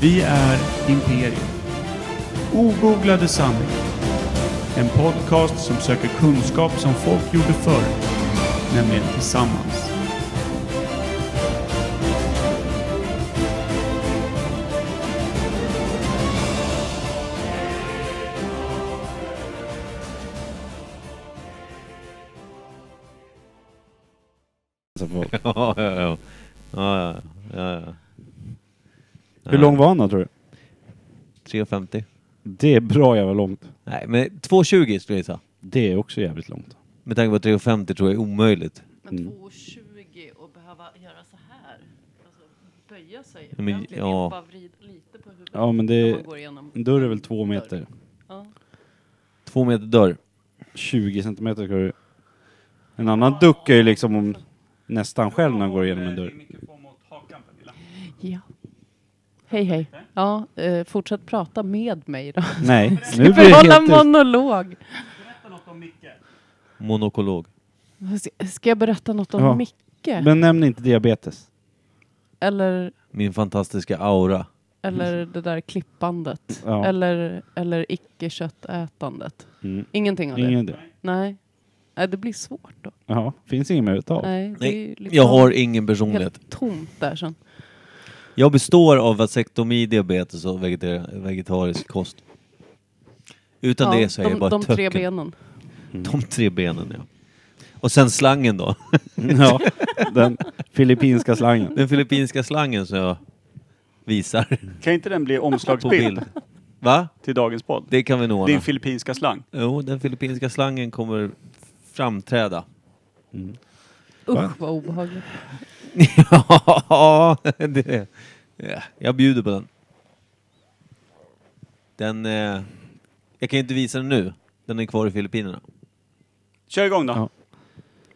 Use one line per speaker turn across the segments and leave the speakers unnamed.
Vi är Imperium. Ogooglade sanningar. En podcast som söker kunskap som folk gjorde förr, nämligen tillsammans.
Hälsa på folk.
Ja, ja, ja. ja, ja, ja, ja.
Hur lång var han då tror du?
3,50.
Det är bra jävla långt.
Nej, men 2,20 skulle jag säga.
Det är också jävligt långt.
Med tanke på 3,50 tror jag är omöjligt.
Men
Mm.
2,20 och behöva göra så här. Alltså böja sig
Men,
ordentligt.
ja.
Bara vrida lite på huvudet.
Ja, men det- Mm.
när man går igenom.
En dörr är väl två meter?
Ja.
Två meter dörr.
20 centimeter ska du... En annan duckar ju liksom om nästan själv när han går igenom en dörr.
ja. Hej hej. Ja, eh, fortsätt prata med mig då.
Nej, nu blir
Slipper
det
hålla
helt... tyst.
monolog.
Monokolog.
S- Ska jag berätta något om
Ja.
Micke?
Men nämn inte diabetes.
Eller,
Min fantastiska aura.
eller det där klippandet?
Ja.
Eller, eller icke-köttätandet?
Mm.
Ingenting av det?
Ingen det.
Nej. Nej, det blir svårt då.
Ja, finns inget mer utav.
Nej, det är
Nej,
ju liksom
jag har ingen personlighet.
helt tomt där sen.
Jag består av vasektomi, diabetes och vegetar- vegetarisk kost. Utan det så är
de,
jag bara
De tre
töcken.
benen.
De tre benen, ja. Och sen slangen då.
Ja, den filippinska slangen.
Den filippinska slangen som jag visar
Kan inte den bli
på
omslagsbild
bild. Va?
till dagens podd?
Det kan vi nog ordna.
Din filippinska slang.
Jo, den filippinska slangen kommer framträda.
Usch vad obehagligt.
ja, det, ja, jag bjuder på den. Den... Eh, jag kan ju inte visa den nu. Den är kvar i Filippinerna.
Kör igång då.
Ja.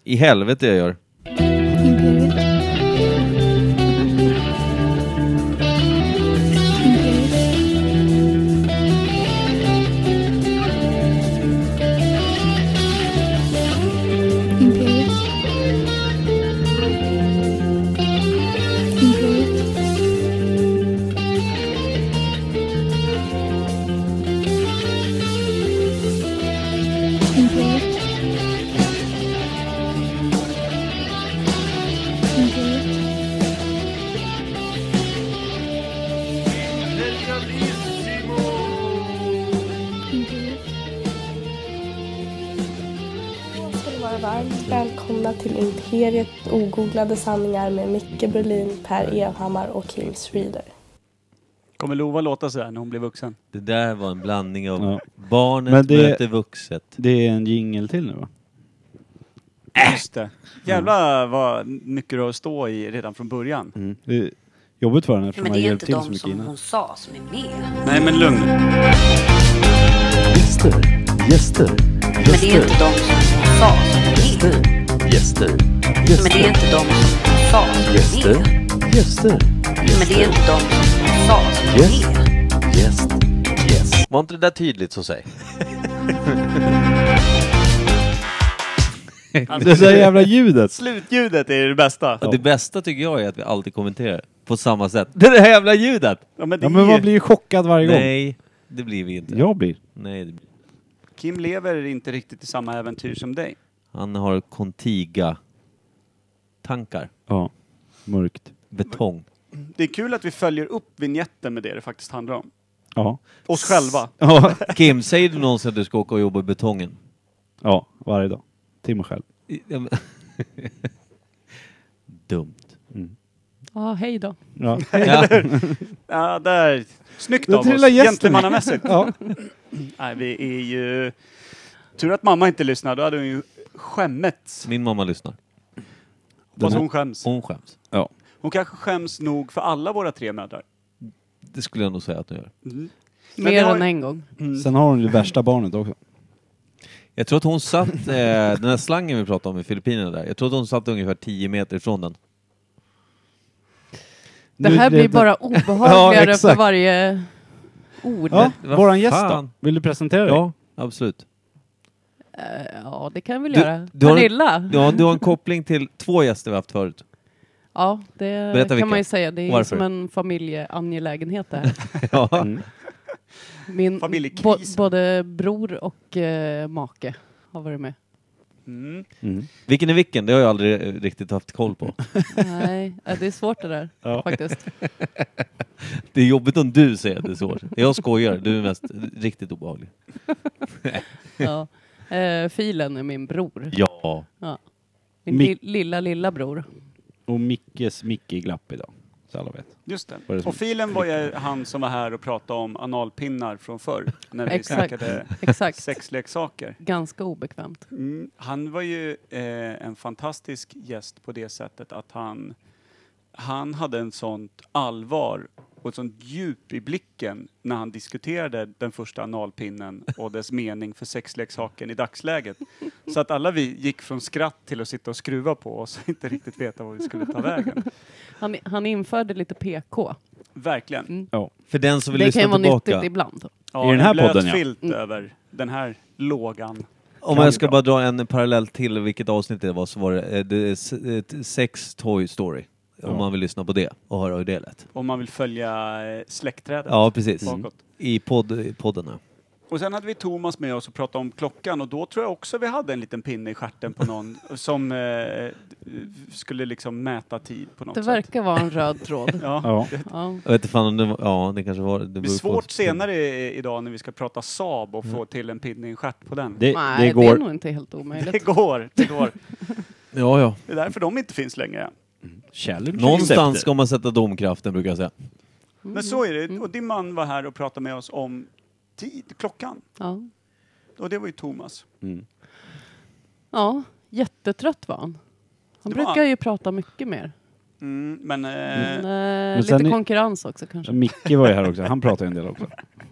I helvete jag gör.
ska ni vara varmt välkomna till Imperiet ogooglade sanningar med Micke Berlin, Per Evhammar och Kim Schreeder.
Kommer Lova låta sådär när hon blir vuxen?
Det där var en blandning av
Ja. Men
barnet
det-
möter vuxet.
Det är en jingel till nu va?
Just det. Jävlar vad mycket du har att stå i redan från början.
Mm. Det är jobbigt för henne eftersom
Men
han
det är
hjälpt
inte
till så
de
mycket
som hon
innan.
sa som är med.
Nej men lugn
Gäster, gäster,
Men det är inte de som hon sa som är med.
gäster,
Men det är inte de som hon sa som är
gäster,
med.
gäster,
Men det är inte de som hon sa som
Yes.
är med.
gäst, gäst.
Var inte det där tydligt så säg?
Det där jävla ljudet!
Alltså,
Slutljudet är det bästa.
Det bästa tycker jag är att vi alltid kommenterar på samma sätt. Det där jävla ljudet!
Ja, men det
Ja men
är
man
ju...
blir ju chockad varje gång.
Nej, det blir vi inte.
Jag blir.
Nej, det blir...
Kim lever inte riktigt i samma äventyr som dig.
Han har Contiga-tankar.
Ja. Mörkt.
Betong.
Det är kul att vi följer upp vignetten med det det faktiskt handlar om.
Ja.
Oss själva.
Ja.
Kim, säger du någonsin att du ska åka och jobba i betongen?
Ja, varje dag. Till mig själv.
Dumt.
Ja, hej då.
Ja.
Ja,
Ja, där. Snyggt
Då
av oss.
trillar gästen.
Gentlemannamässigt.
ja.
Nej, vi är ju... Tur att mamma inte lyssnar. Då hade hon ju skämmets.
min mamma lyssnar.
Fast hon skäms.
Hon skäms.
ja.
Hon kanske skäms nog för alla våra tre mödrar.
Det skulle jag nog säga att hon gör.
Men vi
Mer
har-
än en gång.
Sen har hon det värsta barnet också.
Jag tror att hon satt, eh, den här slangen vi pratade om i Filippinerna där, jag tror att hon satt ungefär 10 meter ifrån den.
Det
Nu-
här blir bara obehagligare för
exakt.
varje ord.
Ja,
Ja.
Vad
våran gäst då?
fan?
Vill du presentera dig?
Ja, absolut.
det kan jag väl
Du-
göra.
du har en-
Pernilla?
Ja, du har en koppling till två gäster vi haft förut.
Ja, det
Berätta
kan
vilka.
man ju säga. Det är ju
Varför?
som en familjeangelägenhet det här.
Ja.
Mm.
Min, bo,
Familjekris.
både bror och eh, make har varit med.
Mm.
Mm.
Vilken är vilken? Det har jag aldrig eh, riktigt haft koll på.
Nej, ja, det är svårt det där faktiskt.
Det är jobbigt om du säger att det är svårt. Jag skojar, du är mest riktigt obehaglig.
Ja. Eh, filen är min bror.
Ja.
Min
Mi-
li- lilla, lilla bror.
Och Mickes Micke glapp idag. Så alla vet.
Just
Vad är det
det.
som-
Och filen var ju han som var här och pratade om analpinnar från förr. När vi
Exakt.
snackade
Exakt.
sexleksaker.
Ganska obekvämt.
Mm. Han var ju eh, en fantastisk gäst på det sättet att han, han hade en sånt allvar och ett sånt djup i blicken när han diskuterade den första analpinnen och dess mening för sexleksaken i dagsläget. Så att alla vi gick från skratt till att sitta och skruva på oss och inte riktigt veta vad vi skulle ta vägen.
Han, han införde lite PK.
Verkligen.
För den som vill
Det kan ju
lyssna
vara
tillbaka.
nyttigt ibland.
Ja,
I den
en
här
blöt
podden, ja.
filt
Mm.
över den här lågan.
Om
Kan
jag
bli
ska
bra.
bara dra en parallell till vilket avsnitt det var så var det, eh, det är s- ett sex Toy Story. Om man vill lyssna på det och höra hur det lät.
Om man vill följa eh, släktträdet
Ja, precis.
bakåt.
I podd, poddarna.
Och sen hade vi Thomas med oss och pratade om klockan och då tror jag också vi hade en liten pinne i stjärten på någon som eh, skulle liksom mäta tid på något
Det
sätt.
verkar vara en röd tråd.
Ja.
Ja.
Ja.
Jag vet inte fan om det var, ja det kanske var... Det
Det blir svårt senare i- idag när vi ska prata Saab och få till en pinne i en stjärt på den. Det,
Mm. Det,
Nej,
det
det är
går.
nog inte helt omöjligt.
går, det går.
Ja, ja.
Det är därför de inte finns längre.
Challenge
Någonstans
accepted.
ska man sätta domkraften brukar jag säga.
Men
Mm.
så är det. Och din man var här och pratade med oss om tid, klockan.
Ja.
Och det var ju Thomas.
Mm.
ja, jättetrött var han. Han
Det var
brukar
han.
ju prata mycket mer.
Mm, men eh,
Men, eh,
Men sen
lite
är-
konkurrens också kanske.
Micke var ju här också. Han pratade ju en del också.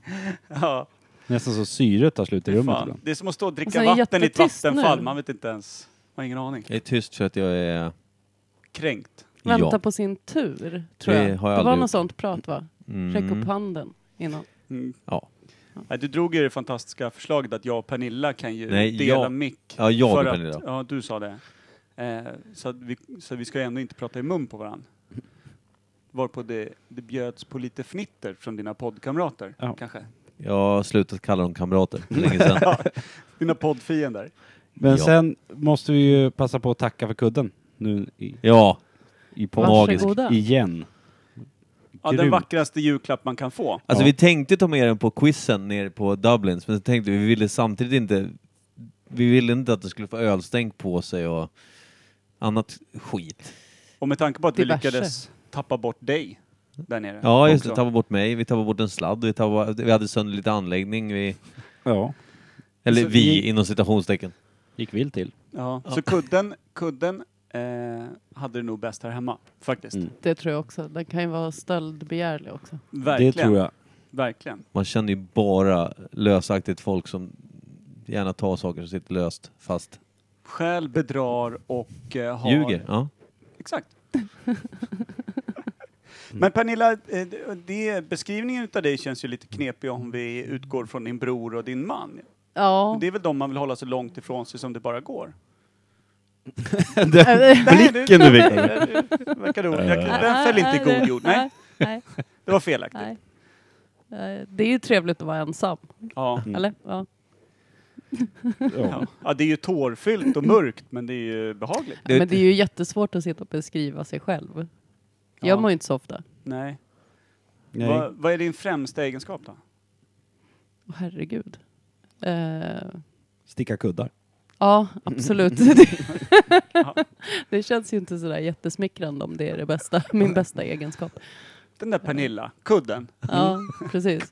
ja,
Nästan så syret tar slut i rummet
fan.
ibland.
Det är som att stå och
Och så är
dricka
det
vatten i ett
Alltså, jättetyst nu.
vattenfall. Man vet inte ens. Man har ingen aning.
Jag är tyst för att jag är...
Kränkt.
Vänta
ja.
på sin tur, tror
Det
jag.
har jag
det var
aldrig
något
gjort.
sånt prat va? Räck upp
Mm.
handen innan.
Mm.
Ja.
Nej, du drog ju det fantastiska förslaget att jag och Pernilla kan ju
Nej,
dela
jag-
mick.
Ja, jag
för
och
att-
Pernilla.
Ja, du sa det. Eh, så, att vi, så vi ska ju ändå inte prata i mun på varandra. Varpå det, det bjöds på lite fnitter från dina poddkamrater,
Ja.
kanske.
Jag har slutat kalla dem kamrater för länge sedan.
Dina poddfiender.
Men
Ja.
sen måste vi ju passa på att tacka för kudden. Nu i,
Ja,
i på
Varsågoda.
igen.
Ja, den
Grymt.
vackraste julklapp man kan få.
alltså
Ja.
vi tänkte ta med den på quizen nere på Dublins, men så tänkte vi, vi ville samtidigt inte... Vi ville inte att det skulle få ölstänk på sig och annat skit.
Och med tanke på att
Diverse.
vi lyckades tappa bort dig där nere.
Ja, just det.
också.
Tappa bort mig, vi tappade bort en sladd, vi, tappade, vi hade sönder lite anläggning, vi...
Ja.
Eller
Så
vi,
vi-
inom citationstecken.
Gick vilt till.
Ja, så kudden, kudden eh, hade det nog bäst här hemma, faktiskt.
Mm.
Det tror jag också. Den kan ju vara stöldbegärlig också.
Verkligen.
Det tror jag.
Verkligen.
Man känner ju bara lösaktigt folk som gärna tar saker som sitter löst, fast
Stjäl, bedrar och eh, har...
ljuger. Ja.
Exakt. Men Pernilla, eh, det- det, beskrivningen utav dig känns ju lite knepig om vi utgår från din bror och din man.
Ja,
Det är väl de man vill hålla så långt ifrån sig som det bara går.
Blicken du fick.
Verkar roligt. Jag- Den föll inte i god jord. Nej,
nej,
det var felaktigt.
nej. Eh, Det är ju trevligt att vara ensam,
Ja.
eller? Ja.
Ja. ja, det är ju tårfyllt och mörkt, men det är ju behagligt.
Det-
Men det är ju jättesvårt att sitta och beskriva sig själv.
Ja.
Gör man ju inte så ofta.
Nej.
Nej.
Va- Vad är din främsta egenskap då?
Åh, herregud. Eh,
Sticka kuddar.
ja, absolut. Det-
Ja.
det känns ju inte sådär jättesmickrande om det är det bästa, min bästa egenskap.
Den där Pernilla, kudden.
Ja, precis.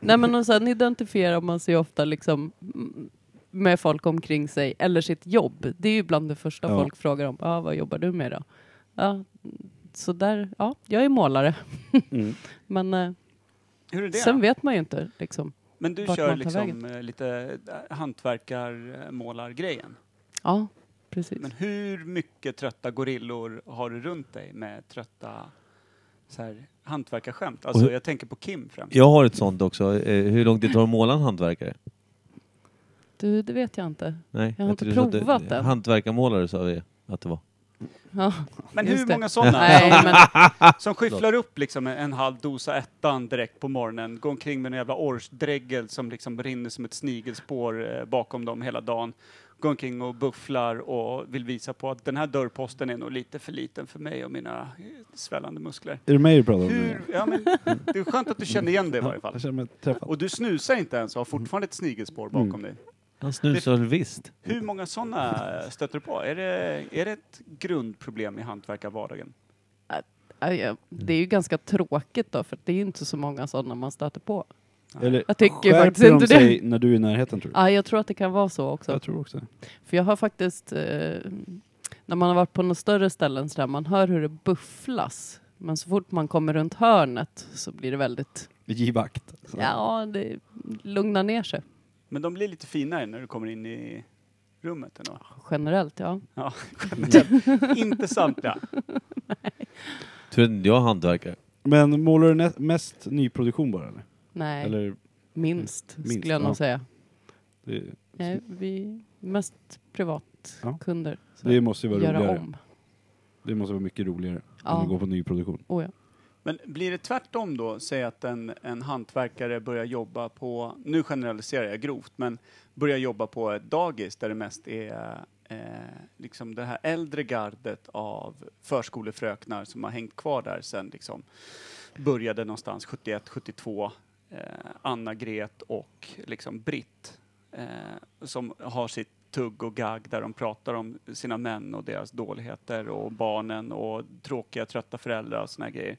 Nej, men och sen identifierar man sig ofta liksom mm, med folk omkring sig eller sitt jobb. Det är ju bland det första
Ja.
folk frågar om. Ah, vad jobbar du med då? Ja, så där, ja, jag är målare.
Mm.
men eh,
Hur är det?
sen vet man ju inte. Liksom.
Men du
vart man
kör
tar
liksom
vägen.
eh, lite eh, hantverkar-målargrejen.
Ja, precis.
Men hur mycket trötta gorillor har du runt dig med trötta så här, hantverkarskämt? Alltså
Och hur-
jag tänker på Kim främst.
Jag har ett sånt också. Eh, Hur lång tid tar det att måla en hantverkare?
Du, det vet jag inte.
Nej,
Jag har inte
tyckte du sa att det-
provat den.
Hantverkarmålare sa vi att det var.
Ja,
Men
just
hur
det.
många sådana
Nej,
som,
men,
som skyfflar upp liksom en, en halv dosa ettan direkt på morgonen, går omkring med en jävla orchdregel som liksom rinner som ett snigelspår eh, bakom dem hela dagen, går omkring och bufflar och vill visa på att den här dörrposten är nog lite för liten för mig och mina eh, svällande muskler.
Är det mig du pratar om nu?
Hur, ja, men, det är skönt att du känner igen det i varje fall.
Jag känner mig träffad.
Och du snusar inte ens och har fortfarande ett snigelspår bakom dig.
Han snusar väl visst.
Hur många sådana stöter du på? Är det, är det ett grundproblem i hantverkarvardagen?
aj, ja, det är ju ganska tråkigt då, för det är ju inte så många sådana man stöter på.
Eller
Jag tycker
skärper
faktiskt
de
inte det.
sig när du är i närheten tror du?
Ja, jag tror att det kan vara så också.
Jag tror också
För jag har faktiskt, eh, när man har varit på några större ställen så där, man hör hur det bufflas. Men så fort man kommer runt hörnet så blir det väldigt,
Givakt.
ja, det lugnar ner sig
Men de blir lite finare när du kommer in i rummet ändå.
generellt. Ja.
Ja, generellt. Inte samtliga.
Tror inte jag hantverkar.
Men målar du nä- mest nyproduktion bara eller?
Nej,
Eller
minst,
minst,
skulle jag
ja.
nog säga.
det,
Nej, vi mest
Ja.
privatkunder. Så
det måste ju vara
göra
roligare.
om.
Det måste vara mycket roligare
Ja.
än att gå på nyproduktion.
Oh, ja.
Men blir det tvärtom då? Säg att en, en hantverkare börjar jobba på, nu generaliserar jag grovt, men börjar jobba på ett dagis där det mest är eh, liksom det här äldre gardet av förskolefröknar som har hängt kvar där sen liksom började någonstans 71, 72, eh, Anna-Gret och liksom Britt eh, som har sitt tugg och gagg där de pratar om sina män och deras dåligheter och barnen och tråkiga trötta föräldrar och såna här grejer.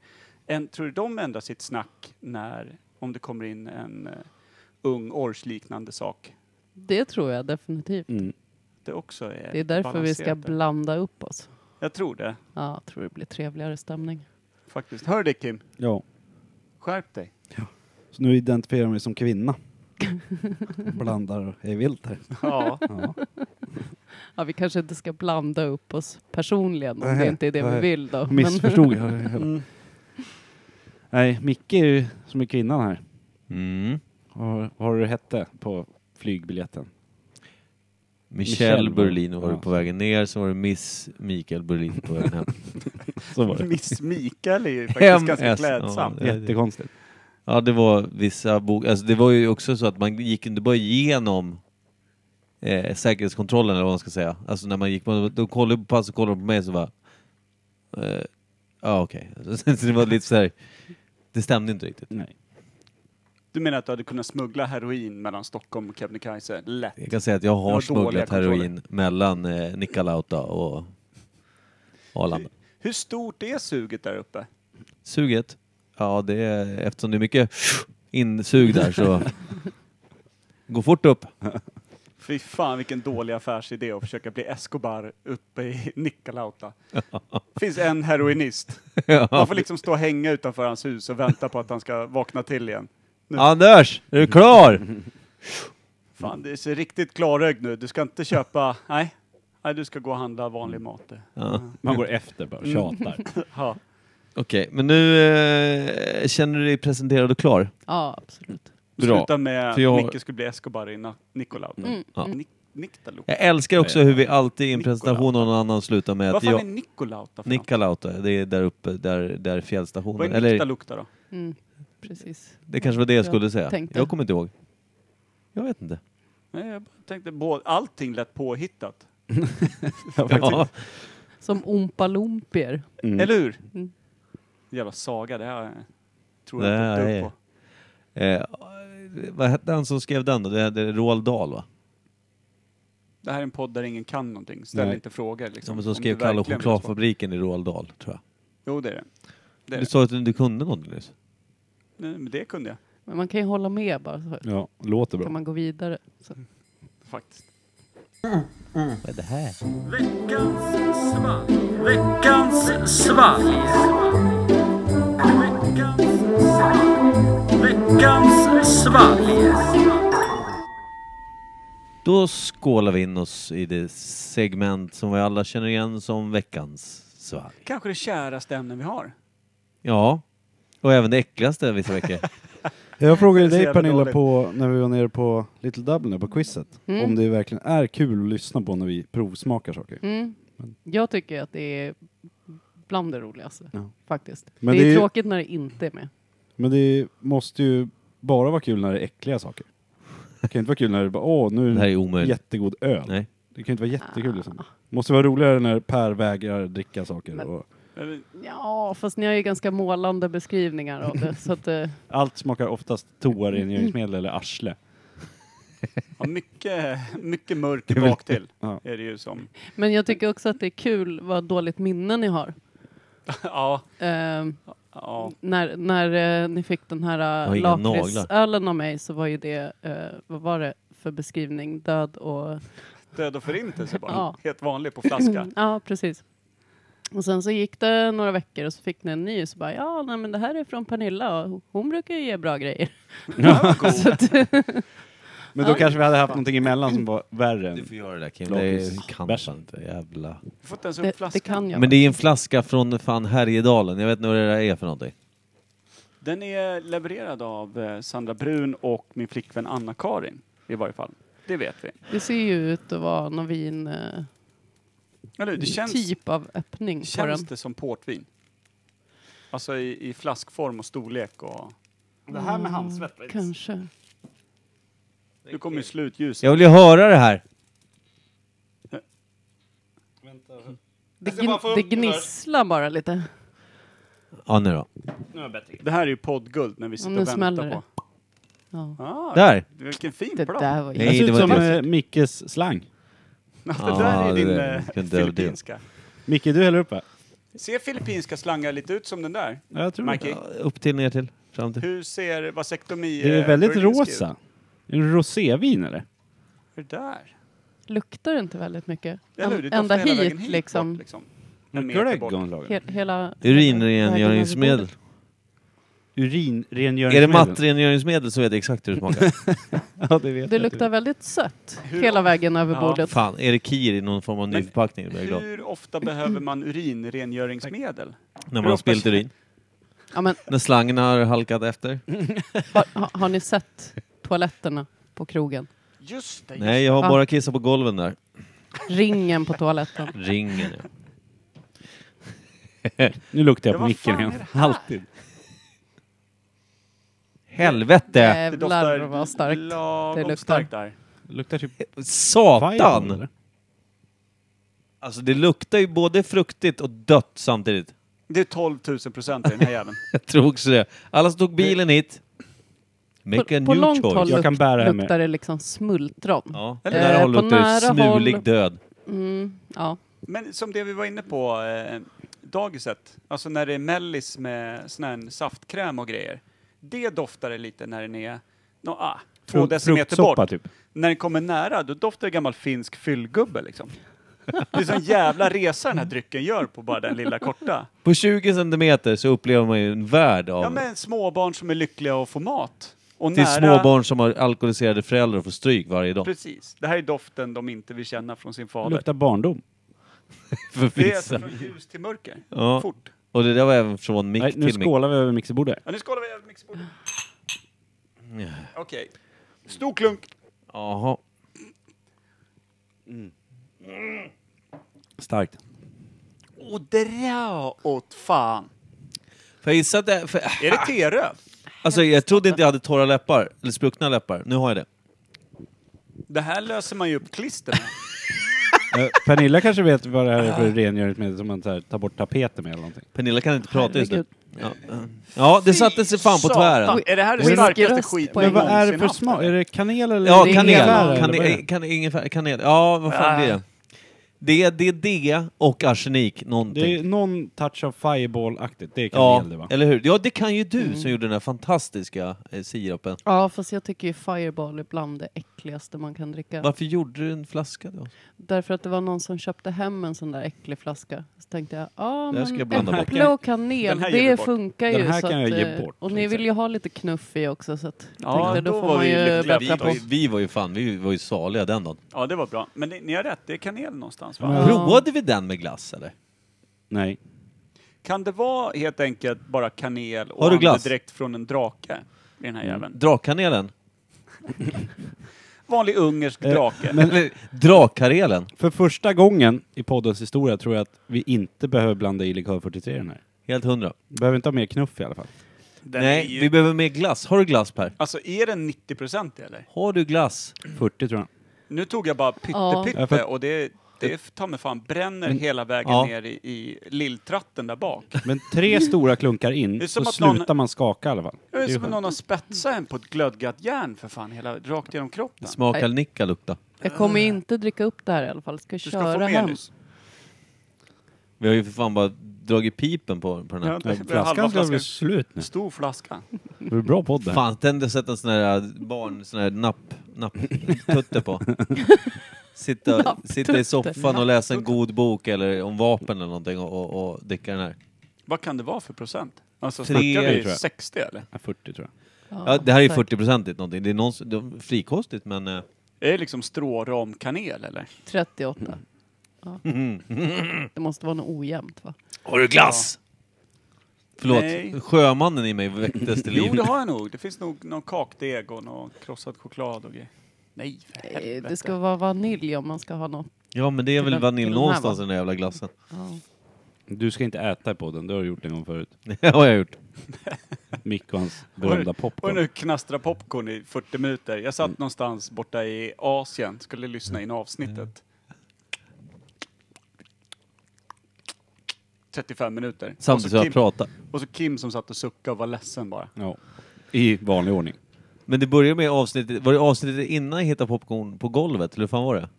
En, tror du de ändrar sitt snack när, om det kommer in en eh, ung årsliknande sak?
Det tror jag definitivt.
Mm.
Det också är
Det är därför vi ska
balanserat där.
blanda upp oss.
Jag tror det
Ja, jag tror det blir trevligare stämning.
faktiskt. Hör dig Kim,
Ja.
skärp dig.
Så nu identifierar jag mig som kvinna. Blandar och är vilt här.
Ja,
Ja.
Ja, vi kanske inte ska blanda upp oss personligen om
Nej,
det inte är det vi
nej.
vill då. Men,
Missförstod jag det hela.
Mm.
Nej, Micke är ju som är kvinnan här.
Mm.
Vad har du hette på flygbiljetten?
Michelle
Michelle
Berlin var
var-
du
ja.
på vägen ner, så var det Miss Mikael Berlin på vägen hem.
Så var det.
Miss Mikael är ju faktiskt ganska
MS.
klädsam.
Ja, det-
Jättekonstigt.
Ja, det var vissa bok... Alltså det var ju också så att man gick inte bara igenom eh, säkerhetskontrollen eller vad man ska säga. Alltså när man gick... Man, de kollade på pass och kollade på mig så bara... eh, Ja, okej. så det var lite så här... Det stämde inte riktigt.
Nej.
Du menar att du hade kunnat smuggla heroin mellan Stockholm och Kebnekaise? Lätt.
Jag kan säga att jag
Det
har
var dåliga
smugglat
kontroller.
heroin mellan eh, Nikkaluokta och Arlanda.
Hur stort är suget där uppe?
Suget? Ja, det är, eftersom det är mycket insug där så... Gå fort upp.
Fy fan vilken dålig affärsidé att försöka bli Escobar uppe i Nikkaluokta. Finns en heroinist. Man får liksom stå och hänga utanför hans hus och vänta på att han ska vakna till igen.
Anders, är du klar?
Fan, det ser riktigt klarögd nu. Du ska inte köpa... Nej. Nej, du ska gå och handla vanlig mat. du.
Ja.
Man går efter bara och tjatar.
Ja.
Okej, men nu eh, känner du dig presenterad och klar?
ja, absolut.
Bra.
Sluta med att
För jag- Mm.
Micke skulle bli Escobar i Na- Nikkaluokta.
Ja.
Nik- Nikkaluokta.
Jag älskar också hur vi alltid i en presentation av någon annan slutar med
Vad
att
fan är
jag...
Nikkaluokta för något?
Nikkaluokta, det är där uppe, där, där
Vad
fjällstationen.
är
Eller
Nikkaluokta då?
Mm, precis.
det kanske var det jag skulle säga.
tänkte.
Jag kommer inte ihåg. Jag vet inte.
Nej, jag bara tänkte, både- allting lät påhittat.
Ja,
Som ompalompier.
Mm.
Eller hur?
Mm.
Jävla saga, det här tror jag
Det här
inte ett
är-
dugg på.
eh, vad hette han som skrev den då? Det, det är Roald Dahl va?
Det här är en podd där ingen kan någonting. Ställ
Nej.
inte frågor. Liksom,
Som, som
om
skrev
du
Kalle och
verkligen vill ha svar.
chokladfabriken i Roald Dahl, tror jag.
Jo, det är det. det, är
Du
det.
sa att du inte kunde någonting nyss.
Nej, men det kunde jag
Men man kan ju hålla med bara så
Ja, låter
kan
bra. Mm.
man gå vidare. Så.
faktiskt.
Vad är det här? Då skålar vi in oss i det segment som vi alla känner igen som veckans svalg.
Kanske det käraste ämnen vi har.
Ja, och även det äckligaste vissa veckor.
Jag frågade
Det är så
dig
jävla
Pernilla
dåligt.
på, när vi var nere på Little Dublin, på quizet,
Mm.
om det verkligen är kul att lyssna på när vi provsmakar saker.
Mm.
Men,
Jag tycker att det är bland det roligaste,
Ja.
faktiskt.
Men
det,
det
är
är ju-
tråkigt när det inte är med.
men det måste ju bara vara kul när det är äckliga saker. Det kan inte vara kul när det bara, åh nu
Det här är
är
omöjligt.
jättegod öl.
Nej.
Det kan inte vara jättekul liksom. Måste vara roligare när Per vägrar dricka saker.
Men-
Och
Men
Ja, fast ni har ju ganska målande beskrivningar av det. så att, eh,
allt smakar oftast toarengöringsmedel eller arsle.
Ja, mycket, mycket mörker
Det är väl-
bak till
Ja.
är det ju som.
men jag tycker också att det är kul vad dåligt minne ni har.
Ja,
Ehm,
ja.
när när eh, ni fick den här
har
uh,
inga
lakritsölen av mig så var ju det, eh, vad var det för beskrivning? Död och...
Död och förintelse bara.
Ja.
Helt vanlig på flaska.
Ja, precis. Och sen så gick det några veckor och så fick ni en ny och så bara ja, nej, men det här är från Pernilla och hon brukar ju ge bra grejer. så att,
Men då kanske vi hade haft någonting emellan som var värre.
Du
än-
får göra det där Kim.
Blad-
Det kan
bärsen.
fan inte. Jävla...
Du får inte ens upp
det, det
flaskan.
kan jag.
Men det är en flaska från fan Härjedalen. Jag vet inte vad det där är för någonting.
Den är levererad av eh, Sandra Brun och min flickvän Anna-Karin. I varje fall. Det vet vi.
Det ser ju ut att vara någon vin, eh,
Eller hur? Det känns,
typ av öppning på den.
känns det som portvin. Alltså i, i flaskform och storlek och...
Det här med handsvett.
Mm, Kanske.
Nu kommer ju slutljuset.
Jag vill ju höra det här.
Det,
ska bara få
gn-
upp
det
det där.
gnisslar bara lite.
Ja, nu då.
Nu är jag bättre.
Det här är ju poddguld när vi sitter
nu
och väntar
smäller
på.
Ja.
Ah,
Där!
Vilken fin
Det
plan.
där var ju...
Det
Nej,
ser
det
ut
var
som
inte-
eh, Mickes slang.
Ja, det
Ah,
där är
det
din
där.
eh,
Jag kan inte överdriva.
filippinska.
Micke, du häller upp va?
Ser filippinska slangar lite ut som den där?
Ja, jag tror det.
Mikey?
Ja, Upp till, ner till, fram till.
Hur ser vasektomi...
Det är
eh,
väldigt
burlinsk ut?
rosa. Är det rosévin eller?
Hur där?
Luktar det inte väldigt mycket?
Eller hur?
Än-
Det doftar
Ända
hela
hit,
vägen hit
liksom.
bort, liksom. En meter bort.
Glögg
He hela...
Urinrengöringsmedel.
Urinrengöringsmedel.
Är det mattrengöringsmedel så vet jag exakt hur det smakar.
Ja, det vet
Det
jag.
luktar väldigt sött
Hur-
hela vägen över
Ja.
bordet.
Fan, är det kir i någon form av ny
Men
förpackning? Då blir jag glad.
Mm.
Hur ofta behöver man urinrengöringsmedel?
När man har
ofta-
spillt urin.
Ja, men,
När slangen har halkat efter.
Mm. har, har- har ni sett toaletterna på krogen?
Just det, just
Nej, jag har
Ja.
bara kissat på golven där.
Ringen på toaletten.
Ringen, ja.
Nu luktar
Ja,
jag på
vad
micken
fan
igen.
är det
Alltid.
Helvete!
det.
Jävlar vad starkt.
lagom
Det luktar.
starkt där.
Luktar typ Fireball,
Satan!
eller?
Alltså det luktar ju både fruktigt och dött samtidigt.
Det är 12 000 procent i den här jäveln.
Jag tror också det. Alla som tog bilen hit. Make
På,
a
på
new
långt
choice.
håll
Jag kan bära det här med.
luktar det liksom smultron.
Ja,
Eller-
där
Eh,
håll
på
luktar
nära
smulig
håll.
död.
Mm, ja.
Men som det vi var inne på, eh, dagiset, alltså när det är mellis med sån här saftkräm och grejer. Det doftar det lite när den är nå ah, två
Frukt-
decimeter
fruktsoppa,
bort.
typ.
När den kommer nära, då doftar det gammal finsk fyllgubbe liksom. Det är sån jävla resa den här drycken gör på bara den lilla korta.
På 20 centimeter så upplever man ju en värld av...
Ja men småbarn som är lyckliga och får mat. Och
till
nära,
småbarn som har alkoholiserade föräldrar och får stryk varje dag.
Precis. Det här är doften de inte vill känna från sin
Det
fader.
luktar barndom.
För
det är alltså
vissa.
från ljus till mörker.
Ja.
Fort.
Och det där var även från mick
Nej, nu
till mick.
skålar vi över mixerbordet.
Ja, nu skålar vi jävligt mycket bordet. Okej. Stor klunk.
Jaha.
Starkt.
Och dra åt fan. Ah.
För jag gissar att det... För,
Är det teröv?
alltså jag trodde inte jag hade torra läppar, eller spruckna läppar. Nu har jag det.
Det här löser man ju upp klister med.
Eh, Pernilla kanske vet vad det här är för rengöringsmedel som man så här, tar bort tapeter med eller någonting.
Pernilla kan inte prata just nu. Ja, eh. ja det satte sig fan på
Satan.
tvären.
Är det här det
Whisky
starkaste
röst
skit
på
jag
Men
en gång.
vad
någonsin
är det för
haft,
smak?
eller?
Är det kanel eller?
Ja,
Det är
kanel.
ingefära,
eller vad är
Kanel,
det?
kan, ingefär, kanel. Ja, vad fan
Ah.
blir det? Det är det, är det och arsenik, någonting.
Det är någon touch av fireball-aktigt. Det är kanel
ja,
det va?
eller hur? Ja, det kan ju
Mm.
du som gjorde den här fantastiska eh, sirapen.
ja, fast jag tycker ju Fireball är bland det äckligaste man kan dricka.
Varför gjorde du en flaska då?
Därför att det var någon som köpte hem en sån där äcklig flaska. Så tänkte jag, ja
Det här ska jag
men
blanda bort.
äpple och kanel,
Den här ger vi
det
bort.
funkar ju.
Den här
så
kan jag
att,
ge
eh,
bort,
Och ni
liksom.
vill ju ha lite knuff i också så att
Ja,
tänkte, då,
då
får
var
man
vi
ju bättra
lyckliga. Vi var
på.
ju-
Vi var ju fan, vi var ju saliga den dagen.
Ja, det var bra. Men ni, ni har rätt, det är kanel någonstans va?
Ja.
Provade vi den med glass eller?
Nej.
Kan det vara helt enkelt bara kanel och
Har du glass? Mm.
andedräkt från en drake i den här jäveln?
Drakkanelen?
vanlig ungersk
Eh,
drake.
Men Drakkarelen.
För första gången i poddens historia tror jag att vi inte behöver blanda i Likör 43 i den här.
Helt hundra.
Vi behöver inte ha mer knuff i alla fall.
Den
Nej,
är ju-
vi behöver mer glass. Har du glass Per?
Alltså är den 90 procent eller?
Har du glass?
40 tror jag.
Nu tog jag bara pytte
Ja.
Ja,
pytte
för-
och det, det ta mig fan bränner hela vägen
Ja.
ner i, i lilltratten där bak.
Men tre stora klunkar in,
Det är
så
som att någon-
slutar man skaka i alla fall.
Det är
ju
som om
skönt.
någon har spetsat en på ett glödgat järn för fan, hela, rakt genom kroppen.
Smakar nicka lukta.
Jag kommer ju inte dricka upp det här i alla fall. Ska
Du ska få
köra
mer
hem.
nyss.
Vi har ju för fan bara dragit pipen på, på den här.
Ja, det
Nej,
blir halva
Flaskan ska bli
flaskan.
slut nu.
Stor flaska.
Det blir bra podd det här.
Fan, tänk dig att sätta en sån här äh, barn, sån här napp, napp, tutte på. Sitta, sitta i soffan och läsa en god bok eller om vapen eller någonting och, och, och dricka den här.
Vad kan det vara för procent? Alltså
Tre,
snackar
tror
vi
jag.
60 eller?
Ja, 40 tror jag.
Ja, det här är
säkert.
40-procentigt någonting. Det är någons, det är frikostigt men... eh,
Är det liksom stråromkanel eller?
38. Ja. Det måste vara något ojämnt va?
Har du glass? Förlåt,
Nej.
sjömannen i mig väcktes till liv.
Jo, det har jag nog. Det finns nog någon kakdeg och någon krossad choklad och grejer. Nej, för
Eh,
helvete.
Det ska vara vanilj om man ska ha något.
Ja men det är
Till
väl
den-
vanilj
till den här,
någonstans i
va?
den där jävla glassen.
Ja.
Du ska inte äta i podden, det har du gjort en gång förut.
Det har jag gjort.
Micke och hans
Och
berömda
nu- Och
popcorn.
nu knastra popcorn i 40 minuter. Jag satt någonstans borta i Asien, skulle lyssna in avsnittet. 35 minuter.
Samtidigt som
och, så
jag
Kim,
pratar.
och så Kim som satt och suckade och var ledsen bara.
Ja. I vanlig ordning.
Men det börjar med avsnittet, var det avsnittet innan jag hittade popcorn på golvet? Eller hur fan var det?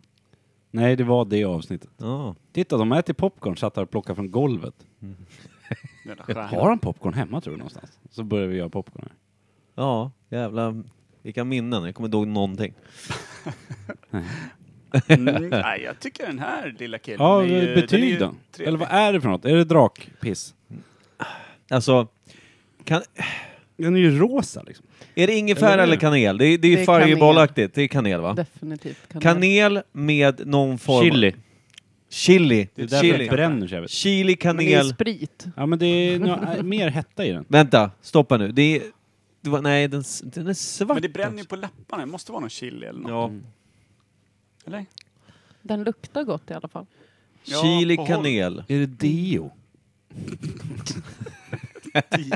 Nej, det var det avsnittet.
Ja.
Titta, de äter popcorn, satt här och plockade från golvet.
Den där stjärnan.
Har han popcorn hemma tror du någonstans? Så börjar vi göra popcorn här.
Ja, jävla... Vilka minnen, jag kommer inte ihåg någonting.
Mm, nej, jag tycker den här lilla killen
Ja,
är ju- den är ju
betyg då.
trevlig.
Eller vad är det för något? Är det drakpiss?
Alltså, kan,
Den är ju rosa liksom.
är det ingefära
Eller-
eller kanel? Det är, det är,
Det är
färgbollaktigt, det är kanel va?
Definitivt kanel.
Kanel med någon form...
Chili.
Chili.
Det är därför
Chili.
det bränner sig. vet du.
Chili,
Men det är ju
kanel...
sprit.
Ja, men det är nå- äh, mer hetta i den.
Vänta, stoppa nu. Det är... Det var, nej, den, s- den är svart.
Men det bränner
alltså?
ju på läpparna. Det måste vara någon chili eller något. Mm.
Ja.
Eller?
Den luktar gott i alla fall.
Ja,
Chili,
på håll.
kanel.
Är det Dio?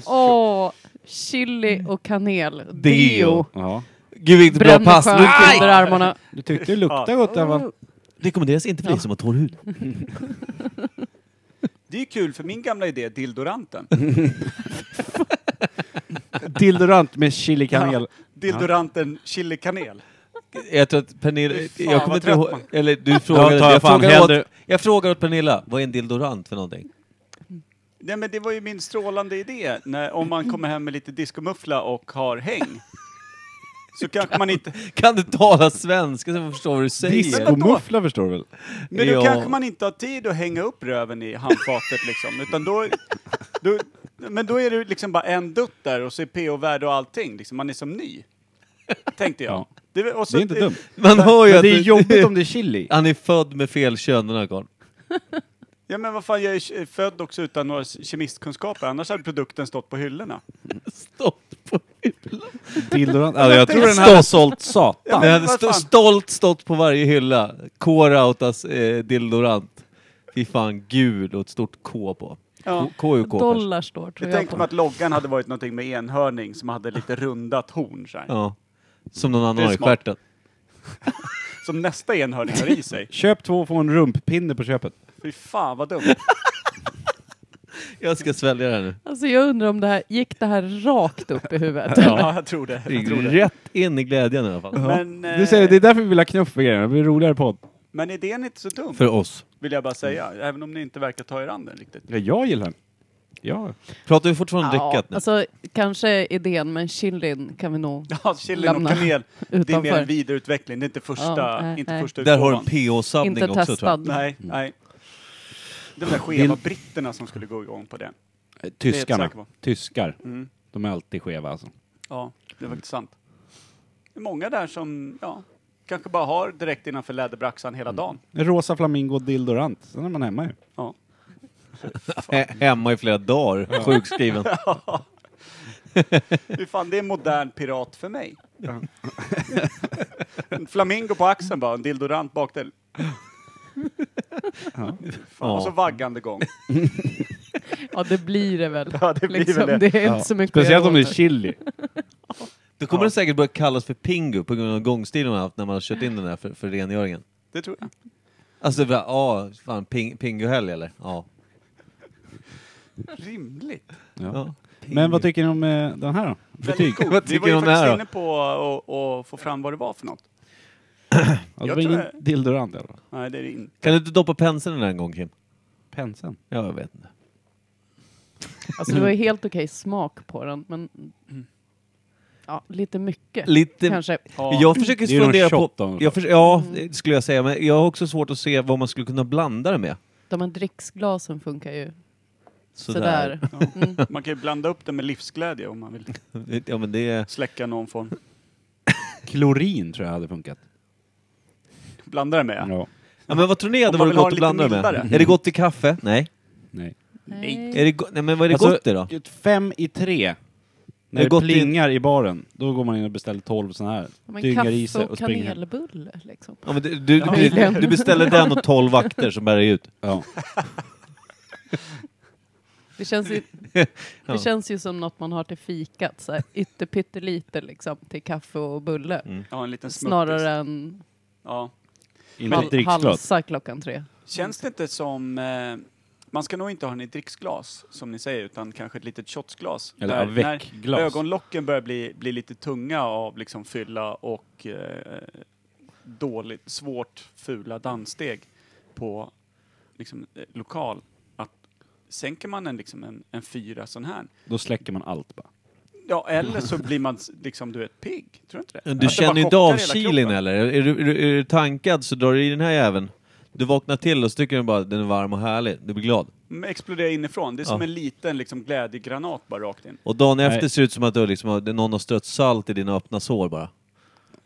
Åh, chili och kanel. Deo.
Ja.
Gud vilket bra
Bränner
pass!
skönt under armarna.
Du tyckte det luktade gott i alla fall.
Rekommenderas inte för dig som har torr hud.
Det är ju kul för min gamla idé, dildoranten.
Dildorant med chili kanel.
Dildoranten chili kanel.
Jag tror att Pernilla...
Fy fan,
Jag kommer
vad
inte
trött
ihåg...
man-
Eller du frågade...
tar jag
Jag,
fan
frågade
hellre.
åt, jag frågade åt Pernilla, vad är en dildorant för någonting?
Nej men det var ju min strålande idé, när, om man kommer hem med lite diskomuffla och har häng. Så kanske man inte,
Kan du tala svenska så jag förstår vad du säger?
Diskomuffla förstår du väl?
men då
Ja.
kanske man inte har tid att hänga upp röven i handfatet liksom, utan då, då men då är det liksom bara en dutt där och så är pH-värde och allting, liksom, man är som ny. Tänkte jag.
Ja.
Det, och så,
Det är inte dumt.
Man hör ju
Men
att...
det är
du-
jobbigt om det är chili.
Han är född med fel kön den här karln.
Ja men vad fan, jag är ke- född också utan några kemistkunskaper, annars hade produkten stått på hyllorna.
Stolt på hyllan.
Dildorant. Alltså, jag tror den här har sålt
Ja,
satan.
men
Men han
vad
stå,
fan.
stolt stått på varje hylla. K-Rautas eh, dildorant. Fy fan, gul och ett stort K på.
Ja.
K-U-K kanske.
Dollar står tror
Jag
jag
tänkte mig
på.
att loggan hade varit någonting med enhörning som hade lite rundat horn så här.
Ja. Som någon
Det
annan
är
har i
smart.
stjärten.
Som nästa enhörning har i sig.
Köp två och få en rumppinne på köpet.
Fy fan vad dumt.
Jag ska svälja det här nu.
Alltså jag undrar om det här, gick det här rakt upp i huvudet?
Ja, jag tror det. Jag tror det.
Rätt in i glädjen i alla fall.
Men, eh,
Du säger, det är därför vi vill ha knuff på grejerna, det blir roligare podd.
men idén är inte så dum,
För oss.
vill jag bara säga. Även om ni inte verkar ta er an den riktigt.
Ja, jag gillar den. Ja.
Pratar vi fortfarande om
Ja,
drickat nu?
alltså kanske idén men chilin kan vi nog
Ja, chillen och
Lämna
kanel, det är mer en
utanför.
vidareutveckling. Det är inte första,
Ja, nej,
inte
nej.
första
Där har du en
utgåvan.
PH-samling
typ Inte
också tror jag.
testad.
Nej, nej. Det var de där
Mm.
skeva britterna som skulle gå igång på det.
Tyskarna.
säker på.
Tyskar.
Mm.
De är alltid skeva alltså.
Ja, det är faktiskt sant. Det är många där som, ja, kanske bara har direkt innanför läderbraxan
Mm.
hela dagen.
En rosa flamingo och dildorant, sen är man hemma ju.
Ja.
He- hemma i flera dagar, sjukskriven.
Fy fan, det är modern pirat för mig. en flamingo på axeln bara, en dildorant bakdel. Fan, Och så vaggande gång.
Ja, det blir det väl.
Ja, det blir väl
liksom,
det.
det. är inte så mycket att
Speciellt
göra
om det är
åt
chili.
Då kommer det säkert börja kallas för Pingu på grund av gångstilen man har haft när man har kört in den där för, för rengöringen.
Det tror jag.
Alltså, det blir, ja, fan, ping, Pingu-helg eller? Ja.
Rimligt.
ja.
Men vad tycker ni om eh, den här då? Betyg?
Väldigt god.
Vad
Vi
tycker
var ju
du om det
faktiskt
här då?
inne på att- att få fram vad det var för något.
Ja, Alltså, det var
Jag tror
ingen
jag-
dildorant i alla fall.
Nej, det är det inte.
Kan du inte doppa penseln i den en gång, Kim?
Penseln.
Ja, jag vet inte.
det. Alltså, det var ju helt okej smak på den, men... Ja, lite mycket.
Lite...
Kanske.
Jag försöker
Det är ju någon
fundera på...
shot av något
Jag förs- ja, det skulle jag säga. Men jag har också svårt att se vad man skulle kunna blanda det med.
De här dricksglasen funkar ju
Sådär.
sådär. Mm.
Man kan ju blanda upp det med livsglädje om man vill
Ja, men det...
släcka någon form.
Klorin tror jag hade funkat.
Blanda det med. ja.
Ja.
Ja, men vad tror ni hade
Om man
varit
vill ha
gott att
en lite
blanda det med?
mildare.
Är det gott i kaffe? Nej.
Nej.
Mm.
Är det go- Nej men vad är det
Alltså,
gott i då?
ett Fem i tre.
Det
När
är
det,
gott i-
plingar i baren, då går man in och beställer tolv sådana här.
Men
Dyngar i
kaffe
sig
och
och springer hem.
kanelbulle liksom.
Ja, men du, du,
Ja,
du,
den.
du beställer den och tolv vakter som bär dig ut.
Ja.
Det känns ju,
Ja.
det känns ju som något man har till fikat, så här, ytterpyttelite liksom till kaffe och bulle.
Ja, en liten smuttis.
Snarare än
Ja.
Inte ett
hal
dricksglas.
halsa klockan tre.
Känns
Mm.
det inte som... Eh, man ska nog inte ha den i dricksglas, som ni säger, utan kanske ett litet shotsglas.
Eller
Där-
avec-glas.
När ögonlocken börjar bli, bli lite tunga av liksom fylla och eh, dåligt, svårt fula danssteg på liksom, eh, lokal. Att sänker man en, liksom en, en fyra sån här,
Då släcker man allt bara.
ja eller så blir man s- liksom, du vet, pigg. Tror du inte det? Att
Du
det
känner
bara
ju inte
chockar
av
hela
chilin
kroppen.
eller? Är du, är, du, är du tankad så drar du i den här jäveln. Du vaknar till och så tycker du bara att den är varm och härlig. Du blir glad.
Mm, Exploderar inifrån. Det är som
Ja.
en liten liksom, glädjegranat bara rakt in.
Och dagen efter
Nej.
ser det ut som att du liksom, har- någon har strött salt i dina öppna sår bara.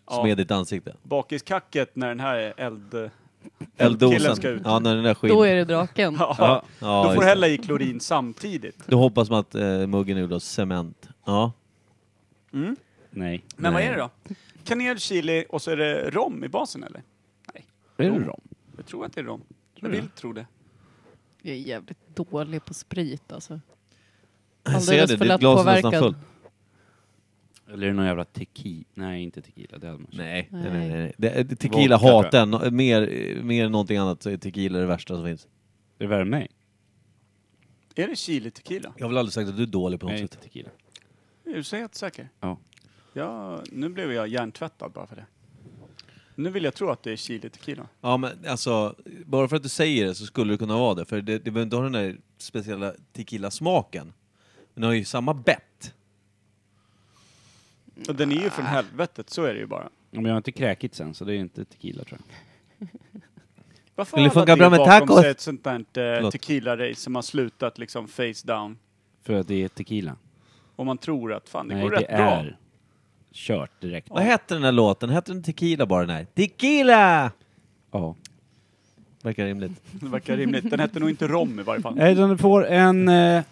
Som
Ja.
är ditt ansikte.
Bakiskacket när den här eld...
Elddosen.
Killen ska ut.
Ja, när den där
Då
skinn.
är det draken.
Ja.
Ja,
Då
just
får
det.
hälla i klorin samtidigt.
Då hoppas man att eh, muggen är gjord av cement. Ja.
Nej.
Men vad
Nej.
är det då? Kanel, chili och så är det rom i basen eller?
Är det rom?
Jag tror att det är rom. Jag vill tro det.
Jag är jävligt dålig på sprit alltså.
Jag ser
Alldeles
det,
för
ditt glas är nästan
lättpåverkad.
fullt.
Eller är det någon jävla tequila? Nej, inte tequila. Det hade man
Nej, nej,
Nej.
nej. nej. Det, det, tequila
Vodka, tror
hatar jag. Mer, mer än någonting annat så är tequila det värsta som finns.
Det är värre än mig.
Är det chili tequila?
Jag har väl aldrig sagt att du är dålig på något
Nej, inte
sätt.
tequila.
Är du så helt säker?
Ja.
Ja, nu blev jag hjärntvättad bara för det. Nu vill jag tro att det är chili tequila.
Ja, men alltså, bara för att du säger det så skulle det kunna vara det. För det, det behöver inte ha den där speciella tequila-smaken. Men den har ju samma bett.
Och den är ju
Ah.
från helvetet, så är det ju bara.
Ja, Men jag har inte kräkit sen, så det är inte tequila tror jag.
Varför
Men det
har
funkar
alla
bra
det
med
bakom
tacos.
sig ett sånt där eh,
Förlåt.
tequila-race som har slutat liksom face down?
För att det är tequila.
Och man tror att fan, det
Nej,
går
det
rätt bra.
är kört direkt.
Vad hette den där låten? Hette den tequila bara den här? Tequila!
Ja.
Verkar rimligt.
Det verkar rimligt. Den hette nog inte rom i varje fall.
Nej, den får en... Eh,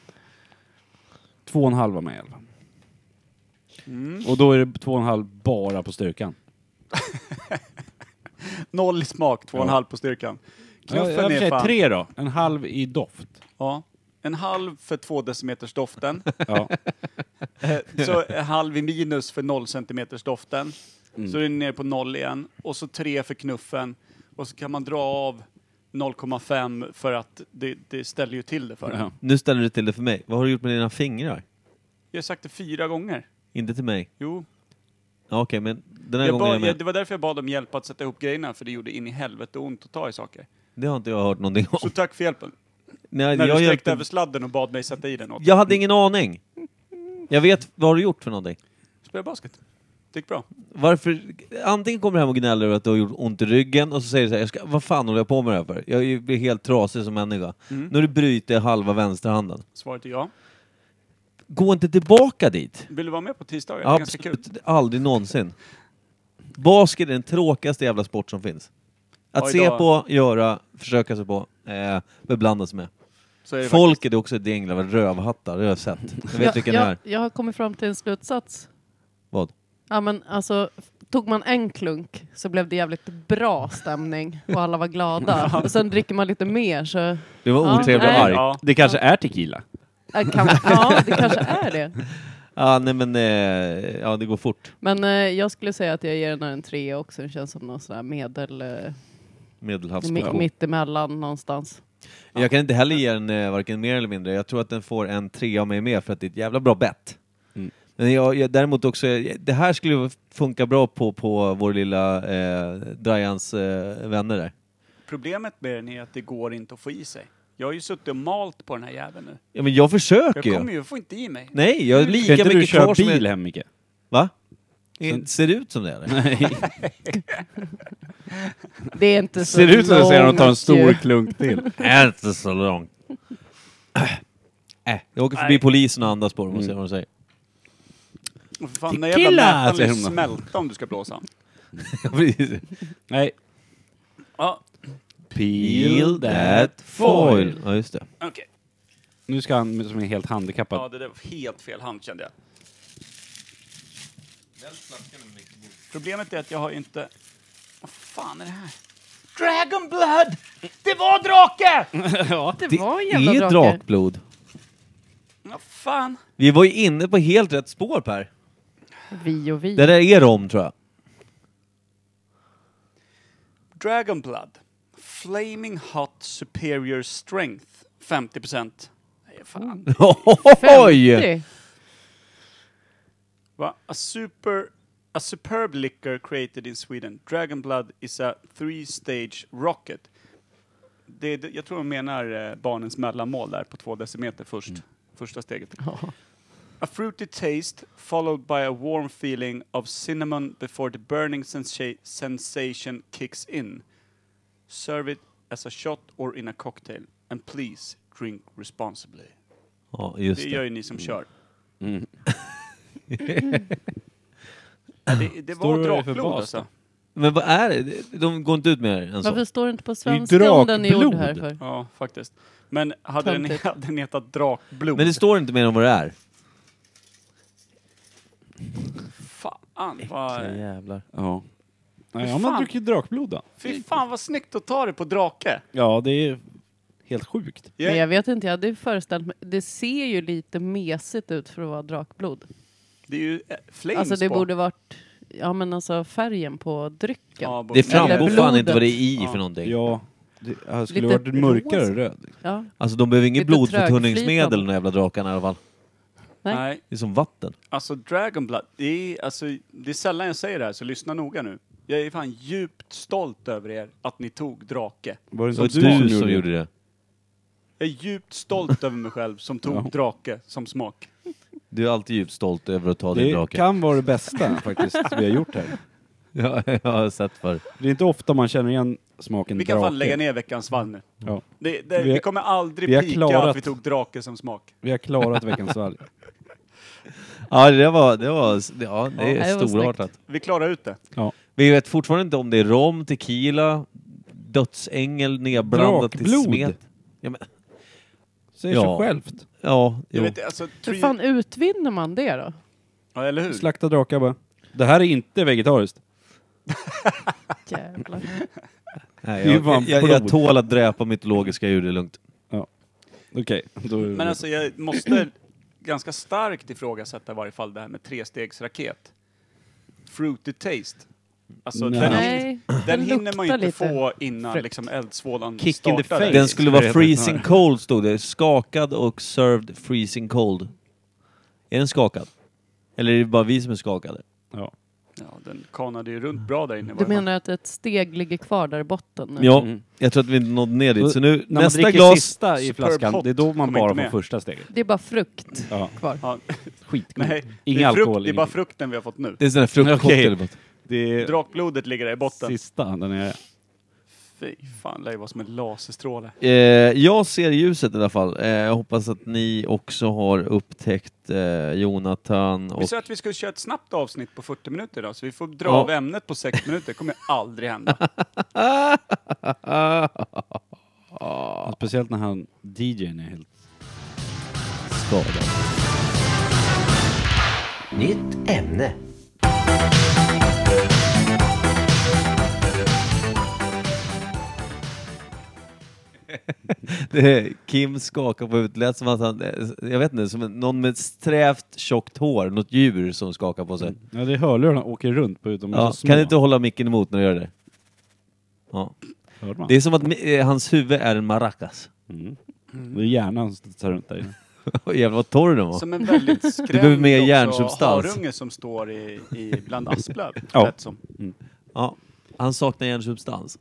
två och en halv av mig i alla fall. Och då är det två och en halv bara på styrkan.
Noll i smak, två och en
Ja.
halv på styrkan.
Ja, jag
Knuffen
vill
är
säga
fan...
tre då. En halv i doft.
Ja. En halv för två decimeters doften.
Ja.
Eh, så en halv i minus för noll centimeters doften.
Mm.
Så är den nere på noll igen. Och så tre för knuffen. Och så kan man dra av 0,5 för att det, det ställer ju till det för en.
Ja.
Nu ställer du till det för mig. Vad har du gjort med dina fingrar?
Jag har sagt det fyra gånger.
Inte till mig.
Jo.
Ja, Okej, men den här
Jag
gången är jag
bad,
med.
jag, det var därför jag bad om hjälp att sätta ihop grejerna, för det gjorde in i helvete ont att ta i saker.
Det har inte jag hört någonting om.
Så tack för hjälpen.
Oh. Nej,
När
jag
du sträckte
hjälpte-
över sladden och bad mig sätta i den åt dig. Mm.
Jag hade ingen aning. Jag vet vad har du gjort för någonting.
Spela basket. Det gick bra.
Varför? Antingen kommer du hem och gnäller över att du har gjort ont i ryggen och så säger du så här, jag ska, vad fan håller jag på med det här för? Jag är ju- blir helt trasig som människa.
Mm.
Nu har du brutit halva vänsterhanden.
Svaret är ja.
Gå inte tillbaka dit.
Vill du vara med på tisdagar? Det är ganska kul.
Absolut, aldrig någonsin. Basket är den tråkigaste jävla sport som finns. Att
Ja,
se
idag-
på, göra, försöka sig på, eh, beblanda sig med.
Så är det
Folk är det också ett gäng av rövhattar, det har jag sett. Jag vet vilken det
jag,
är.
jag har kommit fram till en slutsats.
Vad?
Ja, men alltså, f- tog man en klunk så blev det jävligt bra stämning och alla var glada. Och sen dricker man lite mer så... Äh,
Det var
Ja,
otrevlig och
nej.
arg. Ja.
Ja.
Det kanske är tequila.
äh, kan, ja, det kanske är det.
nej men, eh, ja det går fort.
Men eh, jag skulle säga att jag ger den här en trea också. Den känns som någon sån här medel... Eh, mi-
Medelhavskompon.
mittemellan någonstans.
Jag kan inte heller ge den eh, varken mer eller mindre. Jag tror att den får en trea av mig med för att det är ett jävla bra bett.
Mm.
Men jag, jag, däremot också, eh, det här skulle ju funka bra på, på vår lilla eh, Drajans eh, vänner där.
Problemet med den är att det går inte att få i sig. Jag har ju suttit och malt på den här jäveln nu.
Ja men jag
Jag
försöker
kommer
ju!
ju få inte i mig.
Nej, jag har
Ska
lika
inte du
mycket
köra
kvar som...
bil
jag-
hem, Micke?
Va? Ser det ut som det eller?
Det är inte så
Ser ut som att säga att
långt
ta en stor
ju.
klunk till.
Är inte så långt. Äh, jag åker förbi
Nej.
polisen och andas på dem och ser vad de säger.
Och för fan, den här
Tequila,
jävla mätaren
säger
lär
hon då.
smälta om du ska blåsa.
Ja, precis.
Nej.
Ja,
Peel that foil.
Ja, just det.
okej.
Nu ska han som är helt handikappad.
Ja, det där var helt fel hand kände jag. Problemet är att jag har ju inte... Vad fan är det här? Dragon blood! Det var drake!
Det var en
det
jävla
är
drake.
drakblod.
Vad fan?
Vi var ju inne på helt rätt spår Per.
Vi och vi.
Det där är rom tror jag.
Dragon blood. Flaming hot superior strength. 50 procent. Nej, fan.
Oj!
50.
Va? A super... A superb liquor created in Sweden. Dragon blood is a three-stage rocket. Det, är det, jag tror de menar eh, barnens mellanmål där på två decimeter först. Första steget. A fruity taste followed by a warm feeling of cinnamon before the burning sensa- sensation kicks in. Serve it as a shot or in a cocktail. And please drink responsibly.
Ja, just
Det gör
det.
ju ni som kör.
Mm.
Ja, det det
Står
var
du för
drakblod
bas
alltså.
då?
Men vad är det? De går inte ut mer än så.
Varför står det inte på
är ju
svenska om den är gjord
drakblod.
här för?
Ja, faktiskt. Men hade den,
Töntigt.
hade den hetat drakblod?
Men det står inte mer om vad det är.
Fan vad...
jävlar.
Ja. Nej,
Fy
ja,
fan.
man dricker ju drakblod då.
Fy fan vad snyggt att ta det på drake!
Ja, det är helt sjukt.
Men jag vet inte, jag hade ju föreställt mig. Det ser ju lite mesigt ut för att vara drakblod.
Det är ju eh, flames
Alltså det
på.
borde varit, ja men alltså färgen på drycken.
Ja, borde-
Det
Eller
framgår fan
blodet.
inte vad det är i
Ja.
för någonting.
Ja. Det jag skulle
Lite
varit mörkare
rosa.
röd.
Ja,
Alltså de behöver inget
Lite
blodförtunningsmedel
trögflytande.
de där jävla drakarna i alla fall.
Nej.
Nej,
Det är som vatten.
alltså Dragon Blood, det är, alltså, det är sällan jag säger det här så lyssna noga nu. Jag är fan djupt stolt över er att ni tog drake.
Var det
Det var
inte du som gjorde
gjorde det.
Jag är djupt stolt över mig själv som tog
Ja.
drake som smak.
Du är alltid djupt stolt över att ta
det?
din
Det
drake.
kan vara det bästa faktiskt vi har gjort här.
Ja, jag har sett för.
Det är inte ofta man känner igen smaken
Vi kan
drake.
fan lägga ner veckans valv nu.
Ja.
Det, det,
Vi
vi,
har-
kommer aldrig
vi har
pika
klarat-
att vi tog drake som smak.
Vi har klarat veckans svalg.
Ja, det var, det var, ja, det är
Ja, det var
storartat.
Vi klarar ut det.
Vi vet fortfarande inte om det är rom, tequila, dödsängel nedblandat till
Drakblod.
smet. Ja, men,
Säger
Ja.
sig självt.
ja
Jag
jo.
vet, alltså,
Hur
tri-
fan utvinner man det då?
ja, eller hur?
Slakta drakar bara. Det här är inte vegetariskt.
Jävlar.
Nej,
det är ju
jag,
fan
jag, jag,
blod.
tål att dräpa mytologiska djur, det är lugnt.
Okej, då är det-
Men alltså jag måste ganska starkt ifrågasätta i varje fall det här med trestegsraket. Fruity taste. Alltså
Nej.
den,
Nej,
den hinner man ju
luktar
inte
lite
få innan
frukt.
liksom eldsvådan
Kick in the
startar.
face.
Den skulle
Det
vara
är det.
freezing cold, stod det. Skakad och served freezing cold. Är den skakad? Eller är det bara vi som är skakade?
ja.
Ja, den kanade ju runt bra där inne. i
Du
varje fall.
menar att ett steg ligger kvar där i botten? nu?
Ja,
Mm.
jag tror att vi inte nådde ner dit. Så nu,
När man
nästa
dricker
glas...
sista i
Superb
flaskan,
hot
det är då man
kommer
bara
inte
får
med.
första steget.
Det är bara frukt
Ja.
kvar.
Ja,
Skitgod.
nej, det
Ingen
är, frukt,
alkohol.
det är bara frukten vi har fått nu.
Det är sån där fruktcocktail.
Det är
Drakblodet ligger där i botten.
sista den är...
Fy fan, det lär ju vara som en laserstråle.
Eh, jag ser ljuset i alla fall. Eh, jag hoppas att ni också har upptäckt eh, Jonathan och...
Vi sa att vi skulle köra ett snabbt avsnitt på 40 minuter idag, så vi får dra
Ja.
av ämnet på 6 minuter. Det kommer aldrig hända.
Och Speciellt när han, DJn är helt skadad.
Nytt ämne.
Det är- Kim skakar på huvudet, lät som att han, eh, jag vet inte, som en- någon med strävt tjockt hår, något djur som skakar på sig.
Ja, det är hörlurarna åker runt på utomhus.
Ja, kan du inte hålla micken emot när du gör det? Ja.
Hör man?
Det är som att mi- eh, hans huvud är en maracas.
Mm. Det är hjärnan som tar runt där inne.
Jävlar vad torr den var.
Som en väldigt
behöver
skrämd
mer
också
järnsubstans.
harunge som står i, i bland asplöv.
Ja.
lät som.
Ja. Han saknar hjärnsubstans.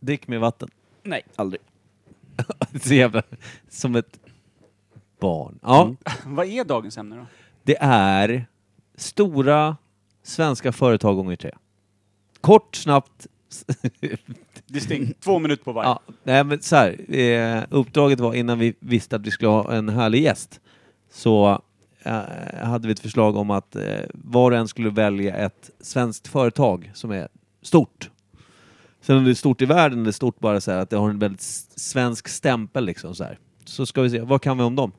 Drick mer vatten.
Nej, aldrig.
Så jävla, som ett barn. Ja,
Vad är dagens ämne då?
det är stora svenska företag gånger tre. Kort, snabbt.
Distinkt. Två minuter på varje.
Ja, nej, men så här, eh, uppdraget var innan vi visste att vi skulle ha en härlig gäst så eh, hade vi ett förslag om att eh, var och en skulle välja ett svenskt företag som är stort. Sen om det är stort i världen eller stort bara så här att det har en väldigt s- svensk stämpel liksom så här. Så ska vi se, vad kan vi om dem?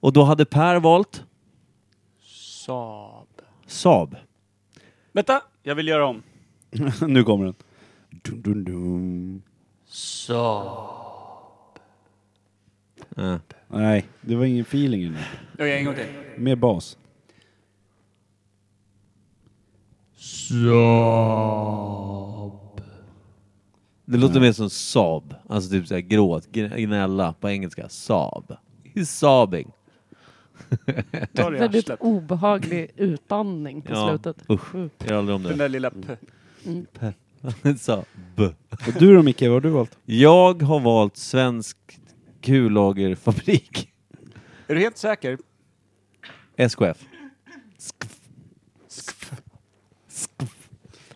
Och då hade Per valt
Saab.
Saab.
Vänta, jag vill göra om.
nu kommer den. Dun, dun, dun.
Eh.
Nej, det var ingen feeling inne.
Okej, en gång till.
Mer bas.
Det låter mer som Saab, alltså typ såhär gråt, gn- gnälla på engelska. Saab. He's sobbing.
Ta det i
Väldigt
arslet.
obehaglig utandning på
Ja.
slutet.
Usch,
Mm.
jag gör aldrig om
Den
det.
där lilla p.
Saab.
Och du då Micke, vad har du valt?
Jag har valt svensk kullagerfabrik.
Är du helt säker?
SKF.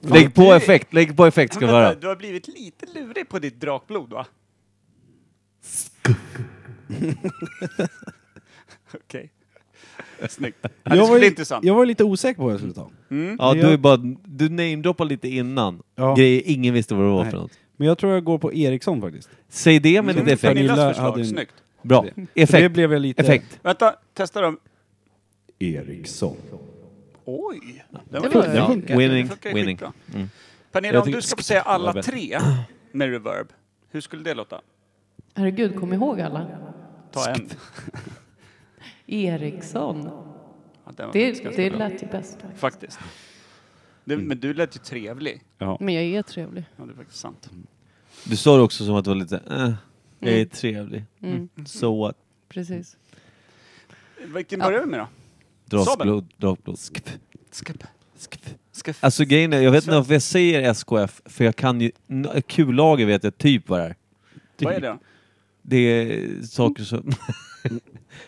Lägg på effekt, lägg på effekt ska vi
Men vänta,
höra.
du har blivit lite lurig på ditt drakblod va? Okej. Snyggt. Ja, det skulle
var,
bli
ju-
intressant.
jag var ju lite osäker på vad jag skulle ta.
Ja,
det
du är
gör-
bara, du namedroppar lite innan.
Ja.
Grejer ingen visste vad det var
Nej.
för något.
Men jag tror jag går på Eriksson faktiskt.
Säg det med
Mm.
lite effekt.
Pernillas
Pernilla
förslag,
hade en-
snyggt.
Bra.
För Det
Effekt.
blev jag lite...
Effekt.
Vänta, testa dem.
Eriksson.
Oj! Den
Det
var
var-
lite
Ja,
funkar.
winning,
Den funkar ju
winning. Mm.
skitbra. Pernilla,
Jag
om
tycker-
du ska få säga alla
bättre.
tre med reverb, hur skulle det låta?
Herregud, kom ihåg alla.
Ta en.
Eriksson.
Ja, den var
Det,
ganska
det
bra.
lät ju bäst. faktiskt.
Faktiskt. Det,
Mm.
men du lät ju trevlig.
Men jag är trevlig.
Ja, det är faktiskt sant.
Du sa det också som att det var lite, eh, jag är trevlig. Mm. So what?
Precis.
Vilken börjar vi med då?
Drakblod, drakblod. Skp.
Skip. Skip.
Alltså grejen är, jag vet inte varför jag säger SKF, för jag kan ju, n- kullager vet jag typ vad det är.
Vad är
Typ.
det då?
Det är saker som...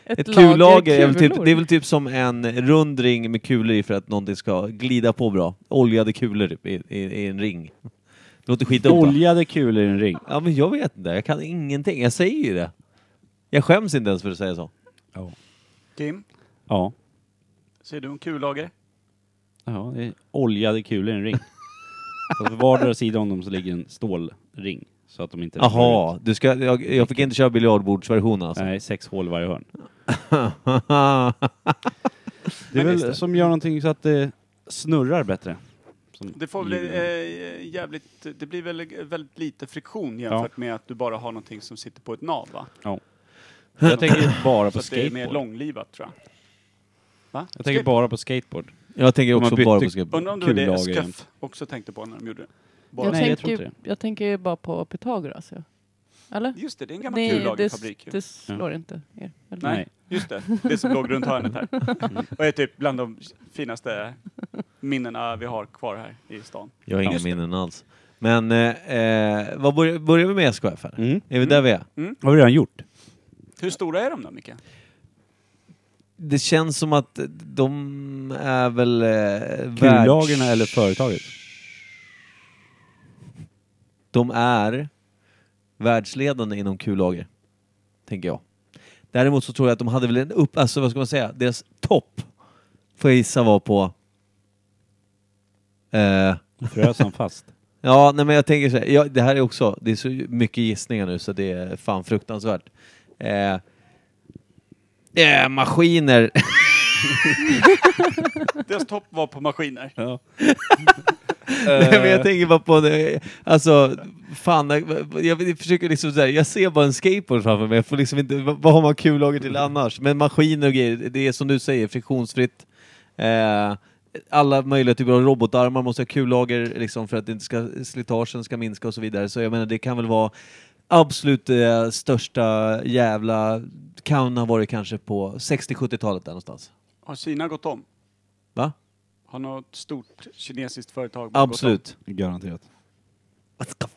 Ett,
Ett kullager är väl, typ,
kulor.
det är väl typ som en rund ring med kulor i för att någonting ska glida på bra. Oljade kulor typ, i, i, i en ring. Det låter skitdumt va?
Oljade kulor i en ring.
Ja men jag vet inte, jag kan ingenting. Jag säger ju det. Jag skäms inte ens för att säga så.
Ja.
Kim,
Ja.
ser du en kullager?
ja det är oljade kulor i en ring. Fast på vardera sida om dem så ligger en stålring. Så att de inte...
Jaha, du ska, jag, jag fick inte köra biljardbordsversionen alltså.
Nej, sex hål i varje hörn. Det är
Men
väl
just det.
som gör någonting så att det snurrar bättre. Som
Det får väl eh, jävligt, det blir väl eh, väldigt lite friktion jämfört med att du bara har någonting som sitter på ett nav va?
Ja. Jag tänker bara
Så
på
att det är
Alltså
mer
skateboard.
långlivat tror jag. Va?
Jag tänker bara på skateboard.
jag tänker
De har
också
bytt
bara på
till-
skräp.
Undrar om det var det
kullager
SKF
jämt.
också tänkte på när de gjorde det?
Jag,
Nej, jag tror
tänker, jag,
inte
tänker ju bara på Pythagoras. Ja. Eller?
Just det, det är en gammal
Nej, det,
kullagerfabrik ju.
det slår inte er. Eller?
Nej.
Nej.
Just det, det som låg runt hörnet här.
Mm.
Och är typ bland de finaste minnena vi har kvar här i stan.
Jag har inga
Just
minnen alls. Men eh, eh, vad börjar, börjar vi med SKF här?
Mm.
Är vi där vi är?
Har vi redan gjort?
Hur stora är de då, Micke?
Det känns som att de är väl eh, världs...
Kullagerna eller företaget?
De är världsledande inom kullager, tänker jag. Däremot så tror jag att de hade väl en upp... Alltså vad ska man säga? Deras topp, får jag gissa, var på... Eh,
Frös han fast?
Ja, nej men jag tänker så här, ja, det här är också, det är så mycket gissningar nu så det är fan fruktansvärt. Eh, eh, maskiner!
Deras topp var på maskiner.
Ja.
Nej, men jag tänker bara på det, alltså, fan, jag, jag försöker liksom så här, jag ser bara en skateboard framför mig, jag får liksom inte, vad, vad har man kullager till annars? Men maskiner och grejer, det är som du säger, friktionsfritt. Eh, alla möjliga typer av robotarmar måste ha kullager liksom för att det inte ska, slitagen ska minska och så vidare. Så jag menar, det kan väl vara absolut eh, största jävla, kan ha varit kanske på 60-70-talet där någonstans.
Har Kina gått om?
Va?
Har något stort kinesiskt företag bara Gått
Absolut.
Garanterat.
om?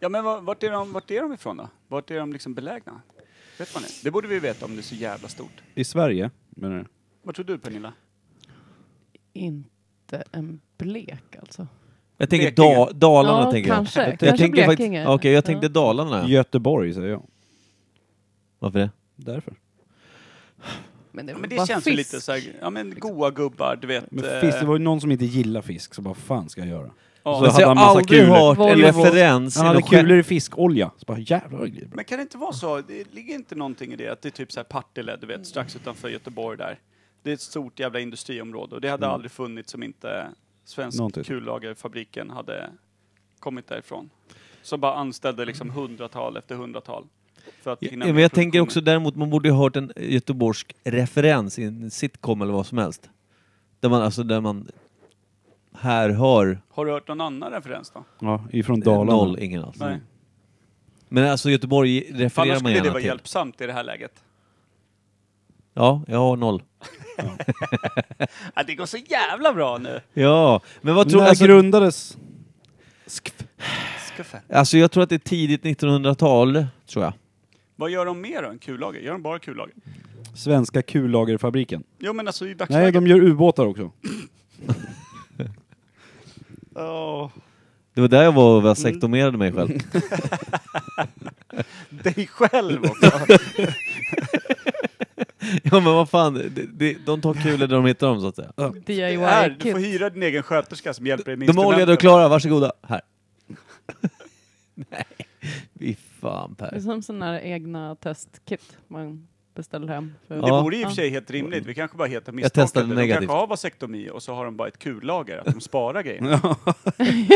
Ja, men var- vart är, de, vart är de ifrån då? Vart är de liksom belägna? Vet man det? Det borde vi veta om det är så jävla stort.
I Sverige, menar du?
Vad tror du Pernilla?
Inte en blek alltså.
Jag tänker
Blekinge.
da, Dalarna.
Ja,
tänker
kanske.
jag. jag
Kanske
tänker faktiskt-
Blekinge.
Okej, jag tänkte
Ja.
Dalarna.
Göteborg säger jag.
Varför det?
Därför.
Men det,
Ja,
var
men det
bara
känns ju
fisk.
lite så här, ja men goa gubbar, du vet.
Men
eh,
fisk, det var ju någon som inte gillar fisk, så bara fan ska jag göra?
ja.
så
Alltså, jag
hade
har
han massa
aldrig
kulor.
hört en
Volvo.
referens.
Han
i
hade
någon skämt.
kulor i fiskolja. Så bara jävlar vad det glider bra.
Men kan det inte vara så, det ligger inte någonting i det att det är typ så här Partille, du vet, strax utanför Göteborg där. Det är ett stort jävla industriområde och det
Mm.
hade aldrig funnits om inte svensk
Någonting.
kullagerfabriken hade kommit därifrån. Som bara anställde liksom hundratal efter hundratal. För att
Ja,
hinna
men
med
jag tänker också
produktionen.
däremot, man borde ju ha hört en göteborgsk referens i en sitcom eller vad som helst. Där man, alltså, där man här hör
Har du hört någon annan referens då?
Ja, ifrån Dalarna.
noll, ingen alls.
Nej.
Men alltså Göteborg
För annars
refererar man
skulle det
gärna
vara
till.
hjälpsamt i det här läget.
Ja, jag har noll.
Ja, det går så jävla bra nu!
Ja, men vad
Men
tror
när
alltså,
grundades...
Skuffe.
alltså jag tror att det är tidigt 1900-tal, tror jag.
Vad gör de mer då än kullager? Gör de bara kullager?
Svenska kullagerfabriken.
Jo men alltså i
Nej,
dagsläget...
de gör ubåtar också.
Åh,
Det var där jag var och vasektomerade mig själv.
dig själv också!
Ja men vad fan, de, de, de tar kulor där de hittar dem så att säga.
Det är,
DIY-kit.
du får hyra din egen sköterska som hjälper dig med
De är oljade och
instrumenten.
klara, varsågoda. Här. Nej, fy fan
Det är
Per.
som sådana här egna testkit man beställer hem. För
Ja.
Det vore i och för sig helt rimligt. Vi kanske bara heter
testade
misstolkade. De
negativt.
kanske har vasektomi och så har de bara ett kullager, att de sparar grejer.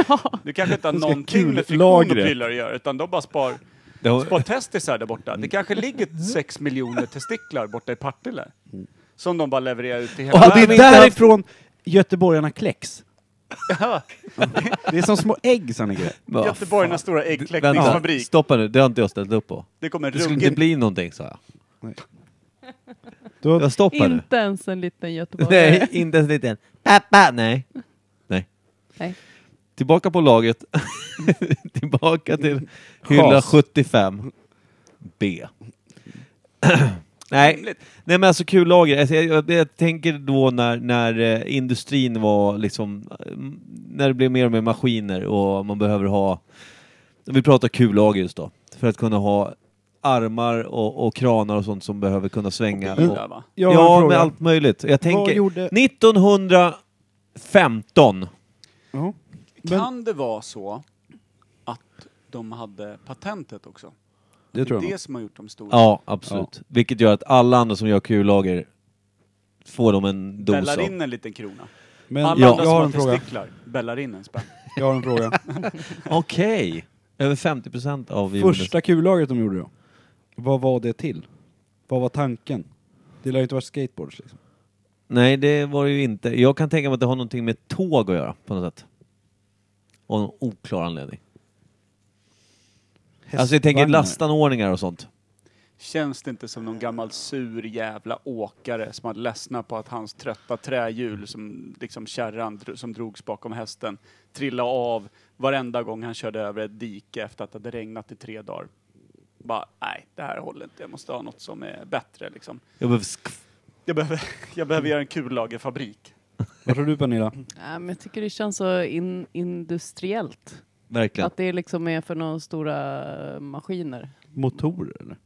ja.
Du kanske inte har
ska
någonting med friktion och
kullagret.
prylar att göra, utan de bara spar,
Det har-
spar testisar där borta. Det kanske ligger sex miljoner testiklar borta i Partille. Som de bara levererar ut till hela
Och det
världen.
är därifrån göteborgarna kläcks. det är som små ägg, Sannegren.
Vad
Göteborgarnas
fan.
stora
Vänta,
äggkläckningsfabrik.
Stoppa nu, det har inte jag ställt upp på.
Det kommer en
Det skulle inte
ruggig
bli någonting sa jag.
Du har
Jag stoppar nu.
Inte ens en liten göteborgare.
Nej, inte ens lite. Pappa, nej. Nej.
Nej.
Tillbaka på laget. Tillbaka till hylla
Chas.
75. B. nej. nej, men alltså kul lager. Alltså, jag, jag, jag tänker då när, när eh, industrin var liksom, eh, m- när det blev mer och mer maskiner och man behöver ha, vi pratar kullager just då, för att kunna ha armar och, och kranar och sånt som behöver kunna svänga. och,
bilar va?
Jag har en
ja,
fråga.
med allt möjligt. Jag tänker,
gjorde-
1915.
Ja. Men
Kan det vara så att de hade patentet också?
det tror
det är
jag
det som har gjort dem stora.
Ja, absolut. Vilket gör att alla andra som gör kullager får de en dos
Bällar
av.
in en liten krona.
Men
Alla
jag,
andra
jag
som
har
har
en fråga.
testiklar bällar in en spänn.
Jag har en fråga.
Okej! Över 50 procent av jordens-
Första kullagret de gjorde då? Vad var det till? Vad var tanken? Det lär ju inte vara skateboards liksom.
Nej, det var det ju inte. Jag kan tänka mig att det har någonting med tåg att göra på något sätt. Av någon oklar anledning. Alltså jag tänker
Hästvagnar.
lastanordningar och sånt.
Känns det inte som någon gammal sur jävla åkare som hade ledsnat på att hans trötta trähjul, som liksom kärran dro- som drogs bakom hästen, trillade av varenda gång han körde över ett dike efter att det hade regnat i tre dagar. Bara, nej, det här håller inte. Jag måste ha något som är bättre liksom.
Jag behöver sk-
Jag behöver, jag behöver göra en kullagerfabrik.
Vad tror du Pernilla?
Nej, men jag tycker det känns så in, industriellt.
Verkligen.
Att det liksom är för några stora maskiner.
Motorer eller?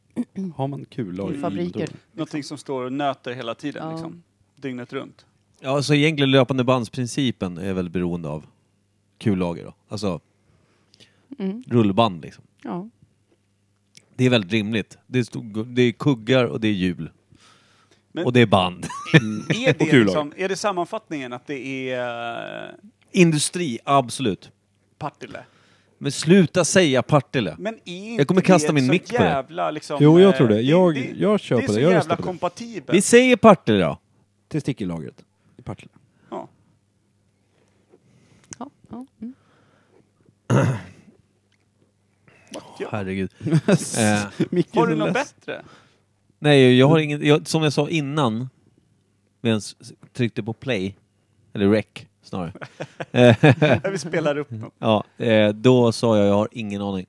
Har man kullager i
Fabriker.
motorer?
Någonting som står och nöter hela tiden
Ja.
liksom. Dygnet runt.
Ja, så egentligen löpande bandsprincipen är väl beroende av kullager då. Alltså
Mm.
rullband liksom.
Ja.
Det är väldigt rimligt. Det är, stor, det är kuggar och det är hjul.
Men-
Och det är band.
Är det,
kul
liksom, är det sammanfattningen att det är eh,
Industri, absolut.
Partille?
Men sluta säga Partille.
Men är inte
Jag kommer kasta
det
min
så
mick på det.
jävla, liksom,
Jo, jag
eh,
tror det. Jag- jag kör på
är
det.
så
Jag röstar
jävla
på det.
Vi
kompatibelt.
säger Partille då.
Testikellagret i Partille.
Ja.
Ja. Ja. Mm.
Herregud. eh,
Micke
Har du
är
något
less.
bättre?
nej, jag har inget... Jag, som jag sa innan, vi ens tryckte på play, eller rec snarare. Eh,
Vi spelar upp något.
ja, eh, då sa jag jag har ingen aning.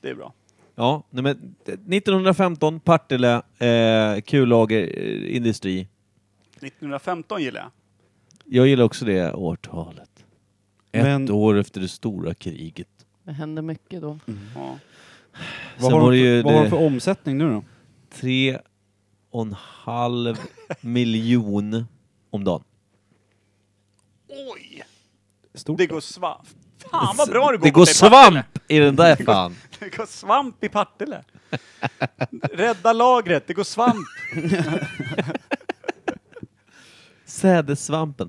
Det är bra.
Ja, nej men, eh, 1915, Partille, eh, kullager, eh, industri.
1915 gillar jag.
Jag gillar också det årtalet. Ett
Men-
år efter det stora kriget.
Det händer mycket
Mm,
då.
Ja.
Sen
Vad har,
var
de
det ju
för, vad har de
det-
för omsättning nu då?
tre och en halv miljon om dagen.
Oj!
Stort.
Det går svamp. Fan vad bra det går
Det
för
går
dig, Partille.
svamp i den där fan.
Det går svamp i Partille. Rädda lagret, det går svamp.
Sädessvampen.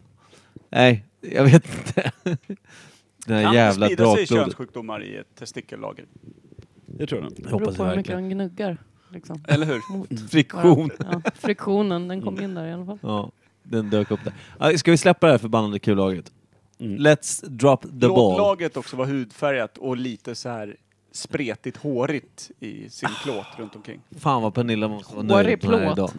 Nej, jag vet inte. Den här
Kan det
jävla
sprida sig
drakblodet.
könssjukdomar i ett testekellager?
Jag tror det.
Jag
Det beror
hoppas
på hur mycket
verkligen. Mm.
de gnuggar. Liksom.
Eller hur?
Mot
Friktion.
varandra. Ja, friktionen, den kom in där i alla fall.
Ja, den dök upp där. Ja, Ska vi släppa det här förbannade kullagret?
Mm.
Let's drop the
Låt
ball.
lagret också vara hudfärgat och lite så här spretigt hårigt i sin
Ah.
plåt runt omkring.
Fan vad Pernilla måste vara
Hårig
nöjd med den här
plåt.
idag.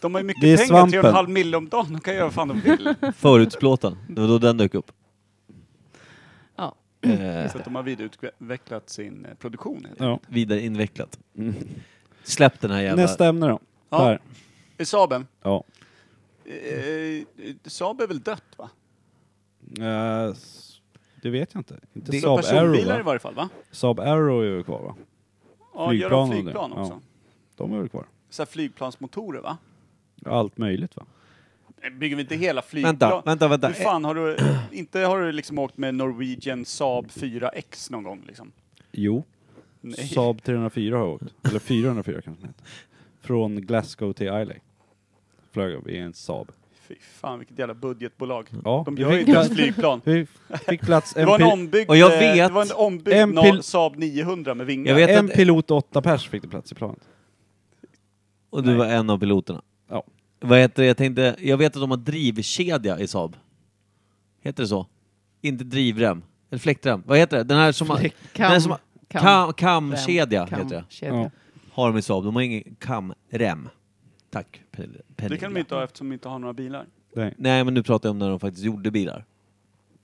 De har ju mycket
Det är
pengar,
svampen.
3,5 mil om dagen. De kan göra vad fan de vill.
Förutsplåten. Det var då den dök upp.
Ja.
Eh,
Så att de har vidareutvecklat sin eh, produktion.
Ja.
vidare invecklat. Släpp den här jävla...
Nästa ämne då.
Ja.
Där.
Eh, Saaben.
Ja.
Eh, eh, Saab är väl dött va?
Eh, s- det vet jag inte. Inte
Det
Saab Aero
personbilar i
va?
varje fall va?
Saab Aero är väl kvar va?
Ja, gör
Flygplan
de
och det.
flygplan också?
Ja. De är väl kvar?
Så här flygplansmotorer va?
Allt möjligt va?
Eh, Bygger vi inte hela flygplan?
Vänta, vänta, vänta.
Hur fan har du, inte har du liksom åkt med Norwegian Saab 4X någon gång liksom?
Jo.
Nej.
Saab 304 har jag åkt. Eller 404 kanske den heter. Från Glasgow till Islay. Flög jag i en Saab.
Fy fan vilket jävla budgetbolag.
Ja.
De
vi
gör ju
fick
inte ens
plats-
flygplan.
Vi fick plats
Det
en,
var en
pil-
ombyggd,
Och jag
eh,
vet-
det var en ombyggd
En
na-
pil-
Saab 900 med vingar.
Jag vet
en
att-
pilot och åtta pers fick det plats i planet.
Och du var en av piloterna.
Ja.
Vad heter det? Jag tänkte, jag vet att de har drivkedja i Saab. Heter det så? Inte drivrem. Eller fläktrem. Vad heter det? Den här som har... den här som har kam, kamkedja
Kam-
heter det.
kedja.
Ja.
Har de i Saab. De har ingen kamrem. Tack Pernilla.
Det kan de inte ha eftersom de inte har några bilar.
Nej.
Nej men nu pratar jag om när de faktiskt gjorde bilar.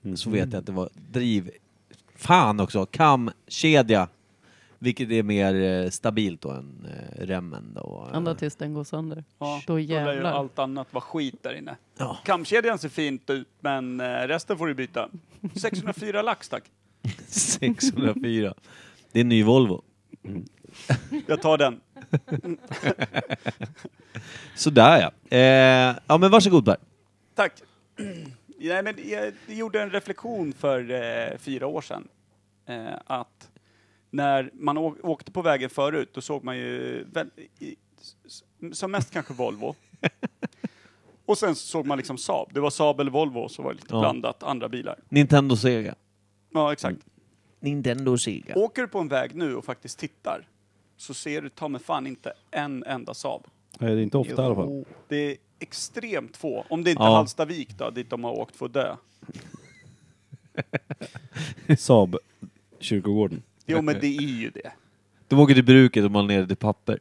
Mm.
Så vet jag att det var driv... Fan också! Kamkedja! Vilket är mer eh, stabilt då än eh, remmen då.
Ända tills den går sönder.
Ja,
Då
lär ju
jävlar.
allt annat vara skit där inne.
Ja.
Kamkedjan ser fint ut men eh, resten får du byta. 604 lax tack.
604. Det är en ny Volvo.
Jag tar den.
Sådär ja. Eh, ja men varsågod Per.
Tack. Nej, men jag gjorde en reflektion för eh, fyra år sedan. Eh, att när man å- åkte på vägen förut, då såg man ju väl, i, s- s- som mest kanske Volvo. Och sen så såg man liksom Saab. Det var Saab eller Volvo, så var det lite
Ja.
blandat, andra bilar.
Nintendo Sega.
Ja, exakt.
Mm. Nintendo Sega.
Åker du på en väg nu och faktiskt tittar, så ser du ta mig fan inte en enda Saab.
Nej, det är inte ofta i alla fall.
Det är extremt få. Om det inte är
Ja.
Hallstavik då, dit de har åkt för att dö.
Saab kyrkogården.
Jo, men det är ju det.
De åker till bruket och mal ner det till papper.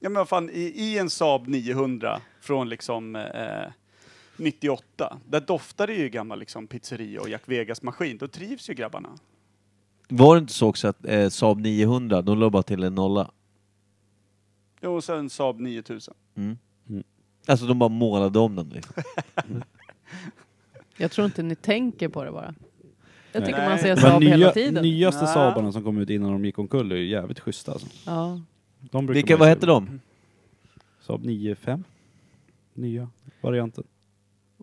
Ja men vad fan, i, i en Saab 900 från liksom eh, 98, där doftar det ju gammal liksom pizzeria och Jack Vegas maskin. Då trivs ju grabbarna.
Var det inte så också att eh, Saab 900, de la bara till en nolla?
Jo, och sen Saab 9000.
Mm.
Mm.
Alltså de bara målade om den. Liksom.
Jag tror inte ni tänker på det bara. Jag tycker
Nej.
man ser
Det
De
Saab hela
nya,
tiden.
nyaste
Nä.
Saabarna som kom ut innan de gick omkull är ju jävligt schyssta alltså.
Ja.
De brukar
Vilka,
man
vad
ju
hette
se.
de?
Saab 9.5. Nya varianten.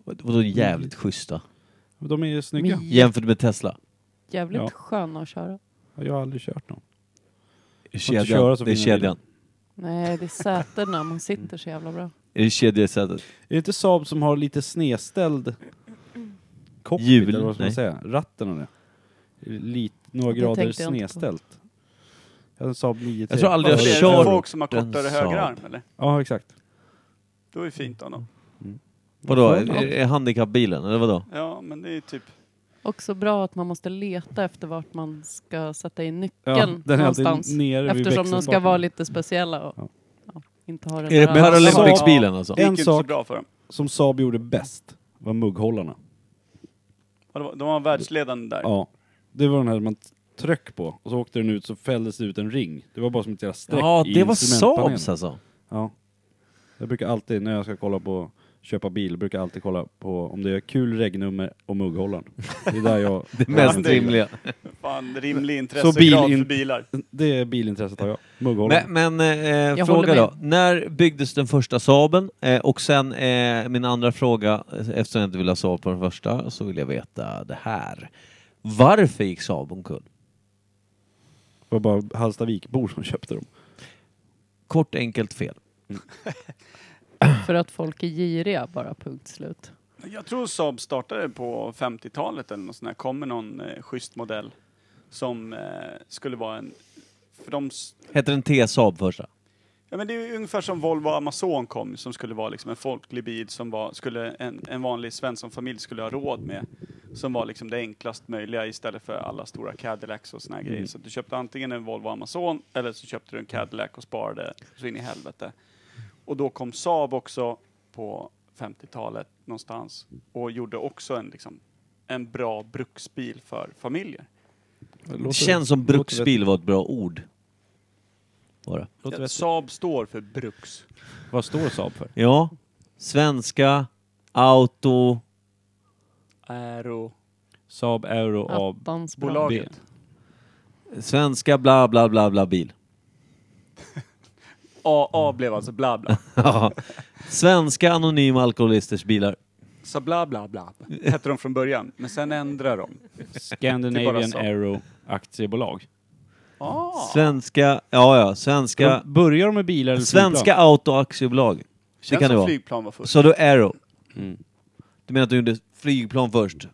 Vadå jävligt schyssta?
De är ju snygga.
Men
Jämfört med Tesla.
Jävligt
Ja.
sköna att köra.
Jag har aldrig kört någon. köra
Kedjan.
så
Det är
fina bilar.
kedjan.
Nej, det är sätena. Man sitter så jävla bra.
Är det kedja i
Är
sätet?
det inte Saab som har lite snedställd cockpit,
Hjul,
eller vad ska man
nej.
säga? Ratten och det. Lite, några
Det
grader
tänkte jag inte på.
snedställt. Jag hade en Saab 9
Jag tror aldrig Alltså, jag
Varför det? Är det
kör
för folk som har
den
kortare högerarm
Saab.
eller?
Ja, exakt.
Då är det fint av dem.
Vadå? Är, är handikappbilen, eller vadå?
Ja, men det är typ...
Också bra att man måste leta efter vart man ska sätta in
Ja,
nyckeln
den är alltid
någonstans.
nere vid
Eftersom de ska
växelstaken.
vara lite speciella och
Ja.
ja, inte ha den
Är det
där-
Paralympics-bilen alltså?
Det gick
En
ju inte så
sak-
bra för dem.
Som Saab gjorde bäst var mugghållarna.
Ja, det var- De var världsledande där.
Ja. Det var den här man tryck på och så åkte den ut så fälldes det ut en ring. Det var bara som ett jävla streck
Ja,
i
det var
instrumentpanelen.
Saabs alltså.
Ja. Jag brukar alltid, när jag ska kolla på köpa bil, brukar jag alltid kolla på om det är kul regnummer och mugghållaren. Det är där jag...
Det mest
det-
rimliga.
Fan, rimlig
Så bil
intressegrad för
in-
bilar.
Det är bilintresset har jag. Mugghållaren.
Men, men eh,
Jag
fråga
håller med.
då. När byggdes den första Saaben? Eh, och sen eh, min andra fråga, eh, eftersom jag inte vill ha svar på den första, så vill jag veta det här. Varför gick Saab omkull?
Det var bara Hallstavikbor som köpte dem.
Kort enkelt fel.
För att folk är giriga bara, punkt slut.
Jag tror Saab startade på 50-talet eller något sånt där. Kommer någon eh, schysst modell som eh, skulle vara en... För de... s-
Hette den T-Saab första?
Ja, men det är ju ungefär som Volvo Amazon kom som skulle vara liksom en folklig bil som var, skulle en, en vanlig svenssonfamilj skulle ha råd med. Som var liksom det enklast möjliga istället för alla stora Cadillacs och såna här grejer. Så att du köpte antingen en Volvo Amazon eller så köpte du en Cadillac och sparade så in i helvete. Och då kom Saab också på 50-talet någonstans och gjorde också en, liksom, en bra bruksbil för familjer.
Låter,
Känns som
låter
bruksbil var ett bra ord. Var det?
Låter vettigt.
Saab står för bruks.
Vad står Saab för?
Ja. Svenska, auto,
Aero.
Saab Euro AB.
Attans bra.
Bolaget.
svenska bla bla bla bla bil.
AA blev alltså bla bla.
Ja. svenska anonyma alkoholisters bilar.
Så bla bla bla hette de från början, men sen ändrade de. Det är bara
Scandinavian
Saab.
Aero Aktiebolag.
Mm.
Ah,
Svenska, ja ja, svenska,
De börjar de med bilar eller
svenska
flygplan?
auto aktiebolag. Det
känns
kan det
som
vara.
flygplan var först.
Så du Aero.
Mm.
Du menar att du gjorde flygplan först?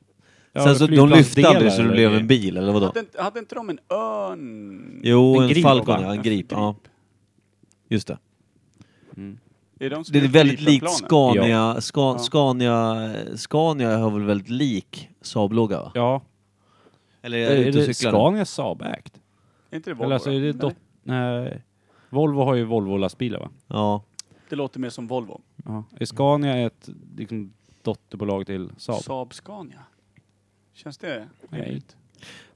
Ja,
Sen så de lyfte aldrig
flygplansdelar
så det
eller
blev
grejer.
en bil, eller vadå?
Hade inte, hade inte de en örn?
Jo,
En
en,
grip,
Falcon,
va?
ja, en grip. Ja. Just det.
Det är, de som
Det är
gjort
väldigt likt
flygplanen.
Scania, Ska,
Ja.
Scania, Scania har väl väldigt lik Saab-logga va?
Ja.
Eller är jag
Är
ute och
det
cyklar?
Scania Saab Act?
Är inte det Volvo?
Eller alltså
då?
är det
Nej,
dot... Nej. Volvo har ju Volvo-lastbilar va?
Ja.
det låter mer som Volvo.
Ja. Är Scania ett liksom, dotterbolag till Saab?
Saab, Scania. Känns det
Nej.
rimligt?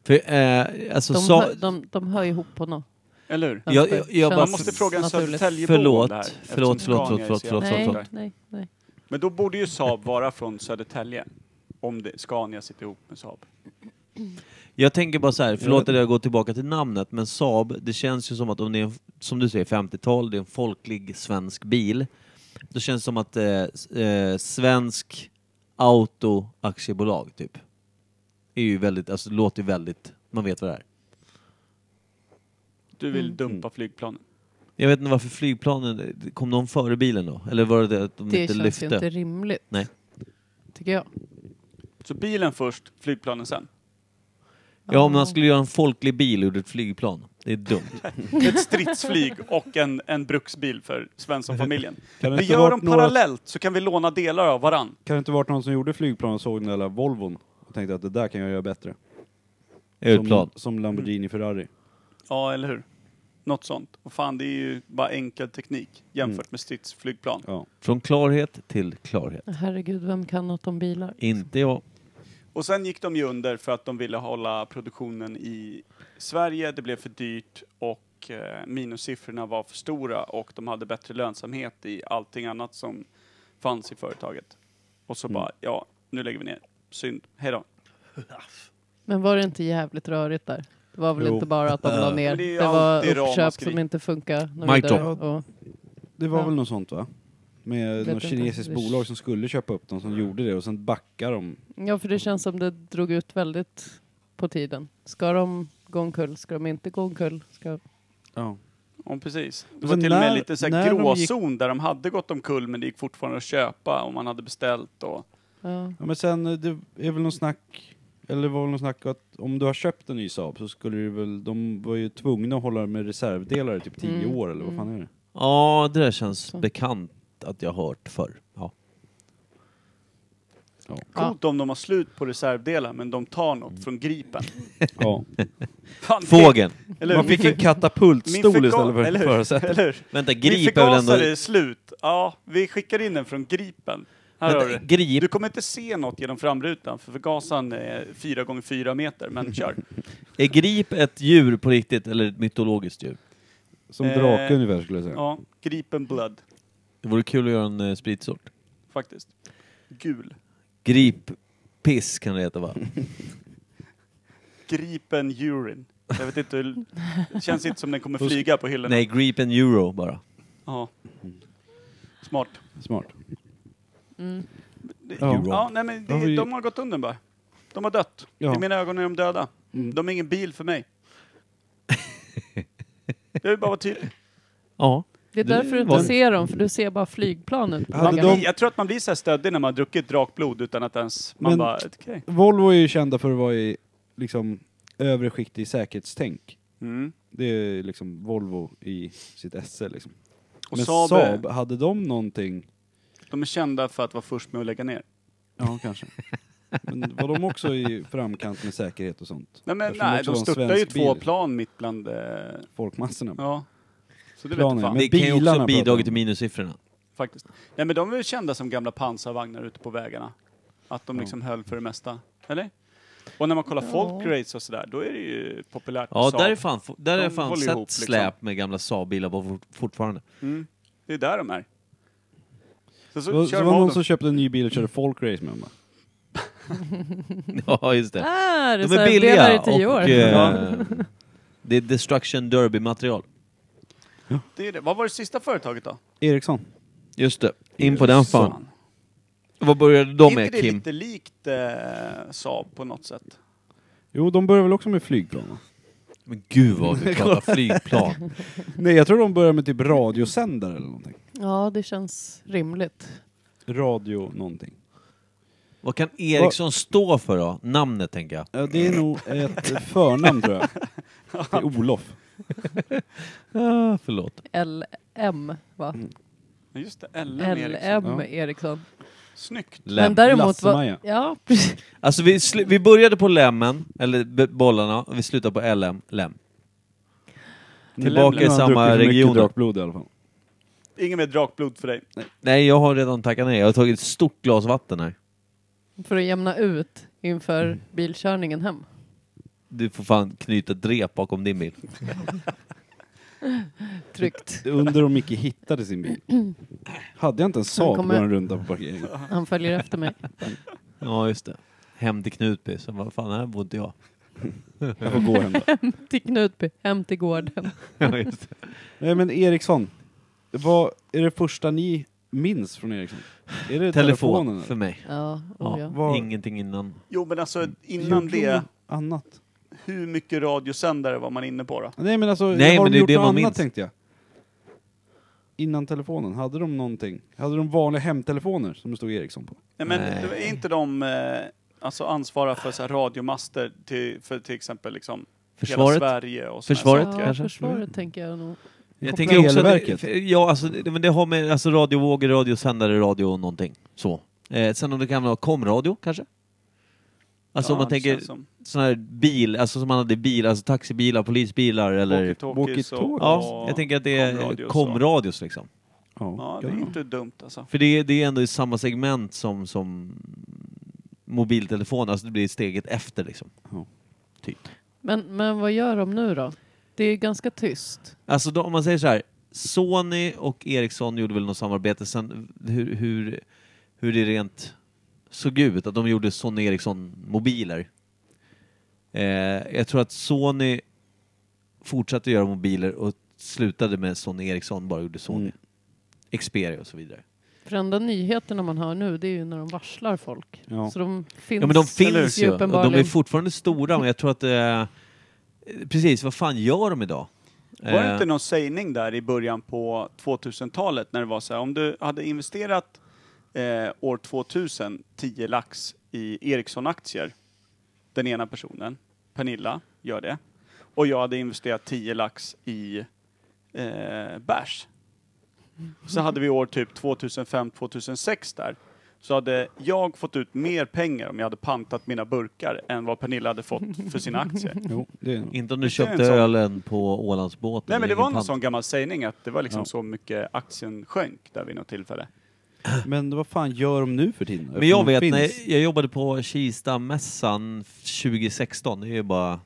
För, eh, alltså,
De,
Sa-
hör, de, de hör ihop på något.
Eller hur?
Jag- jag- jag bara-
Man måste fråga en
Naturligt.
Södertäljebo
Förlåt,
om det här.
förlåt,
eftersom
förlåt,
Scania
förlåt,
är
förlåt, förlåt,
så jävla
Nej,
förlåt.
stort.
nej, nej.
Men då borde ju Saab vara från Södertälje. Om det, Scania sitter ihop med Saab.
Jag tänker bara så här, förlåt att jag går tillbaka till namnet, men Saab, det känns ju som att om det är, en, som du säger, 50-tal, det är en folklig svensk bil. Då känns det som att eh, s- eh, Svensk Auto Aktiebolag, typ. Är ju väldigt, alltså det låter ju väldigt, man vet vad det är.
Du vill
Mm.
dumpa flygplanen.
Jag vet inte varför flygplanen, kom de före bilen då? Eller var det det att de
Det
inte
känns
lyfte?
ju inte rimligt.
Nej.
Tycker jag.
Så bilen först, flygplanen sen.
Ja, om man skulle göra en folklig bil ur ett flygplan. Det är dumt.
ett stridsflyg och en, en bruksbil för Svensson-familjen.
Kan det
Vi
inte
gör
varit
dem
några-
parallellt så kan vi låna delar av varann.
Kan det inte varit någon som gjorde flygplan och såg den där lilla Volvon och tänkte att det där kan jag göra bättre?
Ur ett plan.
Som, som Lamborghini Ferrari.
Ja, eller hur? Något sånt. Och fan, det är ju bara enkel teknik jämfört med stridsflygplan.
Ja.
Från klarhet till klarhet.
Herregud, vem kan något om bilar?
Inte jag.
Och sen gick de ju under för att de ville hålla produktionen i Sverige. Det blev för dyrt och eh, minussiffrorna var för stora och de hade bättre lönsamhet i allting annat som fanns i företaget. Och så bara, ja, nu lägger vi ner. Synd. Hej då.
Men var det inte jävligt rörigt där? Det var väl
Jo.
inte bara att de la ner?
Men det är ju
Det var
alltid
uppköp
ramaskri.
som inte funkar.
Mic
något vidare. Och
Det var
Ja.
väl något sånt va? Med
Vet
något
inte.
kinesiskt
Det-
bolag som skulle köpa upp dem som gjorde det och sen backar de.
Ja, för det känns som det drog ut väldigt på tiden. Ska de gå omkull? Ska de inte gå omkull? Ska...
Ja.
Ja, precis. Det
Men
var till och
när-
med lite så här
när de
gråzon där de hade gått omkull men det gick fortfarande att köpa om man hade beställt. Och,
Ja.
ja men sen eh, det är väl någon snack, eller det var väl någon snack att om du har köpt en ny Saab så skulle du väl, de var ju tvungna att hålla med reservdelar i typ 10
Mm,
år eller vad fan är det?
Ja, det där känns
Så.
bekant att jag har hört förr. Ja.
coolt om de har slut på reservdelar men de tar något från Gripen.
Ja.
Fan, det-
Fågeln!
Eller hur?
Man fick en
Min för- min
katapultstol
förga-
istället för
eller
ett
hur?
förarsäte.
Eller hur?
Vänta,
Min
grip är väl
förgasare är
ändå...
slut. Ja, vi skickar in den från Gripen. Här har
Vänta,
du.
grip,
Du kommer inte se något genom framrutan för förgasaren är 4 gånger 4 meter, men kör.
är grip ett djur på riktigt eller ett mytologiskt djur?
Som
Eh,
drake ungefär skulle jag säga.
Ja, Gripen Blood,
Det vore kul att göra en eh, spritsort.
faktiskt. Gul.
Grippiss kan det heta va?
Gripen Urine. Jag vet inte, hur- det känns inte som den kommer flyga på hyllorna.
Nej, grip and euro bara.
Ja. Smart.
Smart.
Det-
Ja.
Ja, nej, men
Har
det,
vi-
de har gått under bara. De har dött.
Ja. Mm.
I mina ögon är de döda. De är ingen bil för mig. Jag vill bara vara tydlig.
Ja.
Det är
Det
därför du
var-
inte ser dem, för du ser bara flygplan ut. på
Hade
Man,
vägarna.
de-
blir- Jag tror att man blir så här stöddig när man har druckit drakblod utan att ens... Man
Men-
bara, okej.
Volvo är ju kända för att vara i liksom övre skikt i säkerhetstänk.
Mm.
Det är liksom Volvo i sitt esse liksom.
Och
Men
Saab,
Saab, hade de någonting?
de är kända för att vara först med att lägga ner.
Ja, kanske. Men var de också i framkant med säkerhet och sånt?
Nej, men
Eftersom det
nej,
också
de
var en
störtar ju
svensk
två
bil,
plan mitt bland... Eh,
Folkmassorna.
ja. Så det
Planen,
vet fan,
men-
Det kan ju
bilarna
också
pratar
bidra
om.
till minussiffrorna.
faktiskt. Nej men de är ju kända som gamla pansarvagnar ute på vägarna. Att de liksom höll för det mesta. Eller? Och när man kollar folkrace och sådär, då är det ju populärt med
Ja,
Saab.
där är fan, där är
De
fan
håller
sett
ihop, liksom.
släp med gamla Saab-bilar på fort- fortfarande.
Mm. Det är där de är. Så, så,
Det var, så
kör
var
de
det
av
någon
dem.
som köpte en ny bil och körde folkrace med dem va?
Ja, just det.
Ah,
De är billiga
i tio år.
och eh, det är destruction derby-material.
Det är det. Vad var det sista företaget då?
Eriksson.
Just det. In på den fan. Vad började de
är
med
inte det
Kim?
lite likt eh, Saab på något sätt?
Jo, de började väl också med flygplan va?
Men gud vad vi pratar flygplan.
Nej, jag tror de började med typ radiosändare eller någonting.
Ja, det känns rimligt.
Radio någonting.
Vad kan Ericsson stå för då? Namnet tänker jag.
Ja, det är nog ett förnamn tror jag. Det är Olof.
Ah, förlåt.
LM, va?
Mm. Ja, Just det, LM, Ericsson.
LM
Ja.
Eriksson.
Snyggt.
Men
Lem.
däremot
Lasse-Maja.
var... Ja, precis.
Alltså vi, sl- vi började på lemmen, eller b- bollarna, och vi slutade på LM, lem. Tillbaka i
Nu har han
samma
druckit för mycket
region.
drakblod i alla fall.
Inget mer drakblod för dig.
Nej, jag har redan tackat nej. Jag har tagit ett stort glas vatten här.
För att jämna ut
Mm.
inför bilkörningen hem.
Du får fan knyta ett rep bakom din bil.
Tryggt.
Under om Micke hittade sin bil. Hade jag inte en Saab
kommer-
går han runt där på parkeringen.
Han följer efter mig.
Ja, just det. Hem till Knutby. Så vad fan, här bor inte jag.
Jag får gå hem då.
till Knutby, hem till gården.
Ja, just det.
Nej men Eriksson, vad är det första ni minns från Eriksson? Är det telefonen?
Telefon
eller?
för mig.
Ja,
Ja,
oh ja.
Vad-
Ingenting innan.
Jo men alltså
Mm.
Gjorde
innan
de
det,
något Annat?
hur mycket radiosändare var man inne på då?
Nej men alltså,
Nej,
har
men
de
det är
gjort
det
något
man
annat
minns.
tänkte jag? Innan telefonen, hade de någonting? Hade de vanliga hemtelefoner som det stod Eriksson på?
Nej men
Nej.
är inte de eh, alltså ansvariga för så här radiomaster till, för till exempel liksom
Försvaret?
hela Sverige och såna här
Försvaret
saker?
ja,
kanske?
Försvaret tänker jag nog.
Jag
Koppla
tänker också...
elverket.
Ja, alltså det, men det har med alltså, radiovågor, radiosändare, radio och någonting. Så. Eh, sen om det kan vara komradio, kanske? Alltså
Ja,
om man
det
tänker
känns som
sån här bil, alltså som man hade i bil, alltså taxibilar, polisbilar eller...
walkie-talkies och-
walkie-talkies.
Ja, jag tänker att det är
komradio och så.
komradios liksom.
Ja, det är inte dumt alltså.
För det, det är ändå i samma segment som, som mobiltelefon, alltså det blir steget efter liksom.
Men, men vad gör de nu då? Det är ganska tyst.
Alltså då, om man säger så här, Sony och Ericsson gjorde väl något samarbete, sen hur, hur, hur det rent såg ut, att de gjorde Sony Ericsson-mobiler. Eh, jag tror att Sony fortsatte göra mobiler och slutade med Sony Ericsson, bara gjorde Sony.
Mm.
Xperia och så vidare.
För enda nyheterna man hör nu det är ju när de varslar folk.
Ja.
Så de finns,
Ja men de finns
ju
ju. Och de är
uppenbarligen.
fortfarande stora men jag tror att... Eh, precis, vad fan gör de idag?
Var
Eh.
det inte någon sägning där i början på 2000-talet när det var så här, om du hade investerat eh, år 2000 10 lax i Ericsson-aktier, den ena personen, Pernilla, gör det, och jag hade investerat 10 lax i eh, bärs, så hade vi år typ 2005-2006 där, så hade jag fått ut mer pengar om jag hade pantat mina burkar än vad Pernilla hade fått för sina aktier.
Jo, det är nog.
Inte om du
Det är en
köpte
sån-
ölen på Ålandsbåten.
Nej men det
eller
var någon
pant.
sån gammal sägning att det var liksom
Ja.
så mycket aktien sjönk där vid något tillfälle.
Men vad fan gör de nu för tiden?
Men jag
Eftersom de
vet,
finns-
när jag- jag jobbade på Kista-mässan 2016, det är ju bara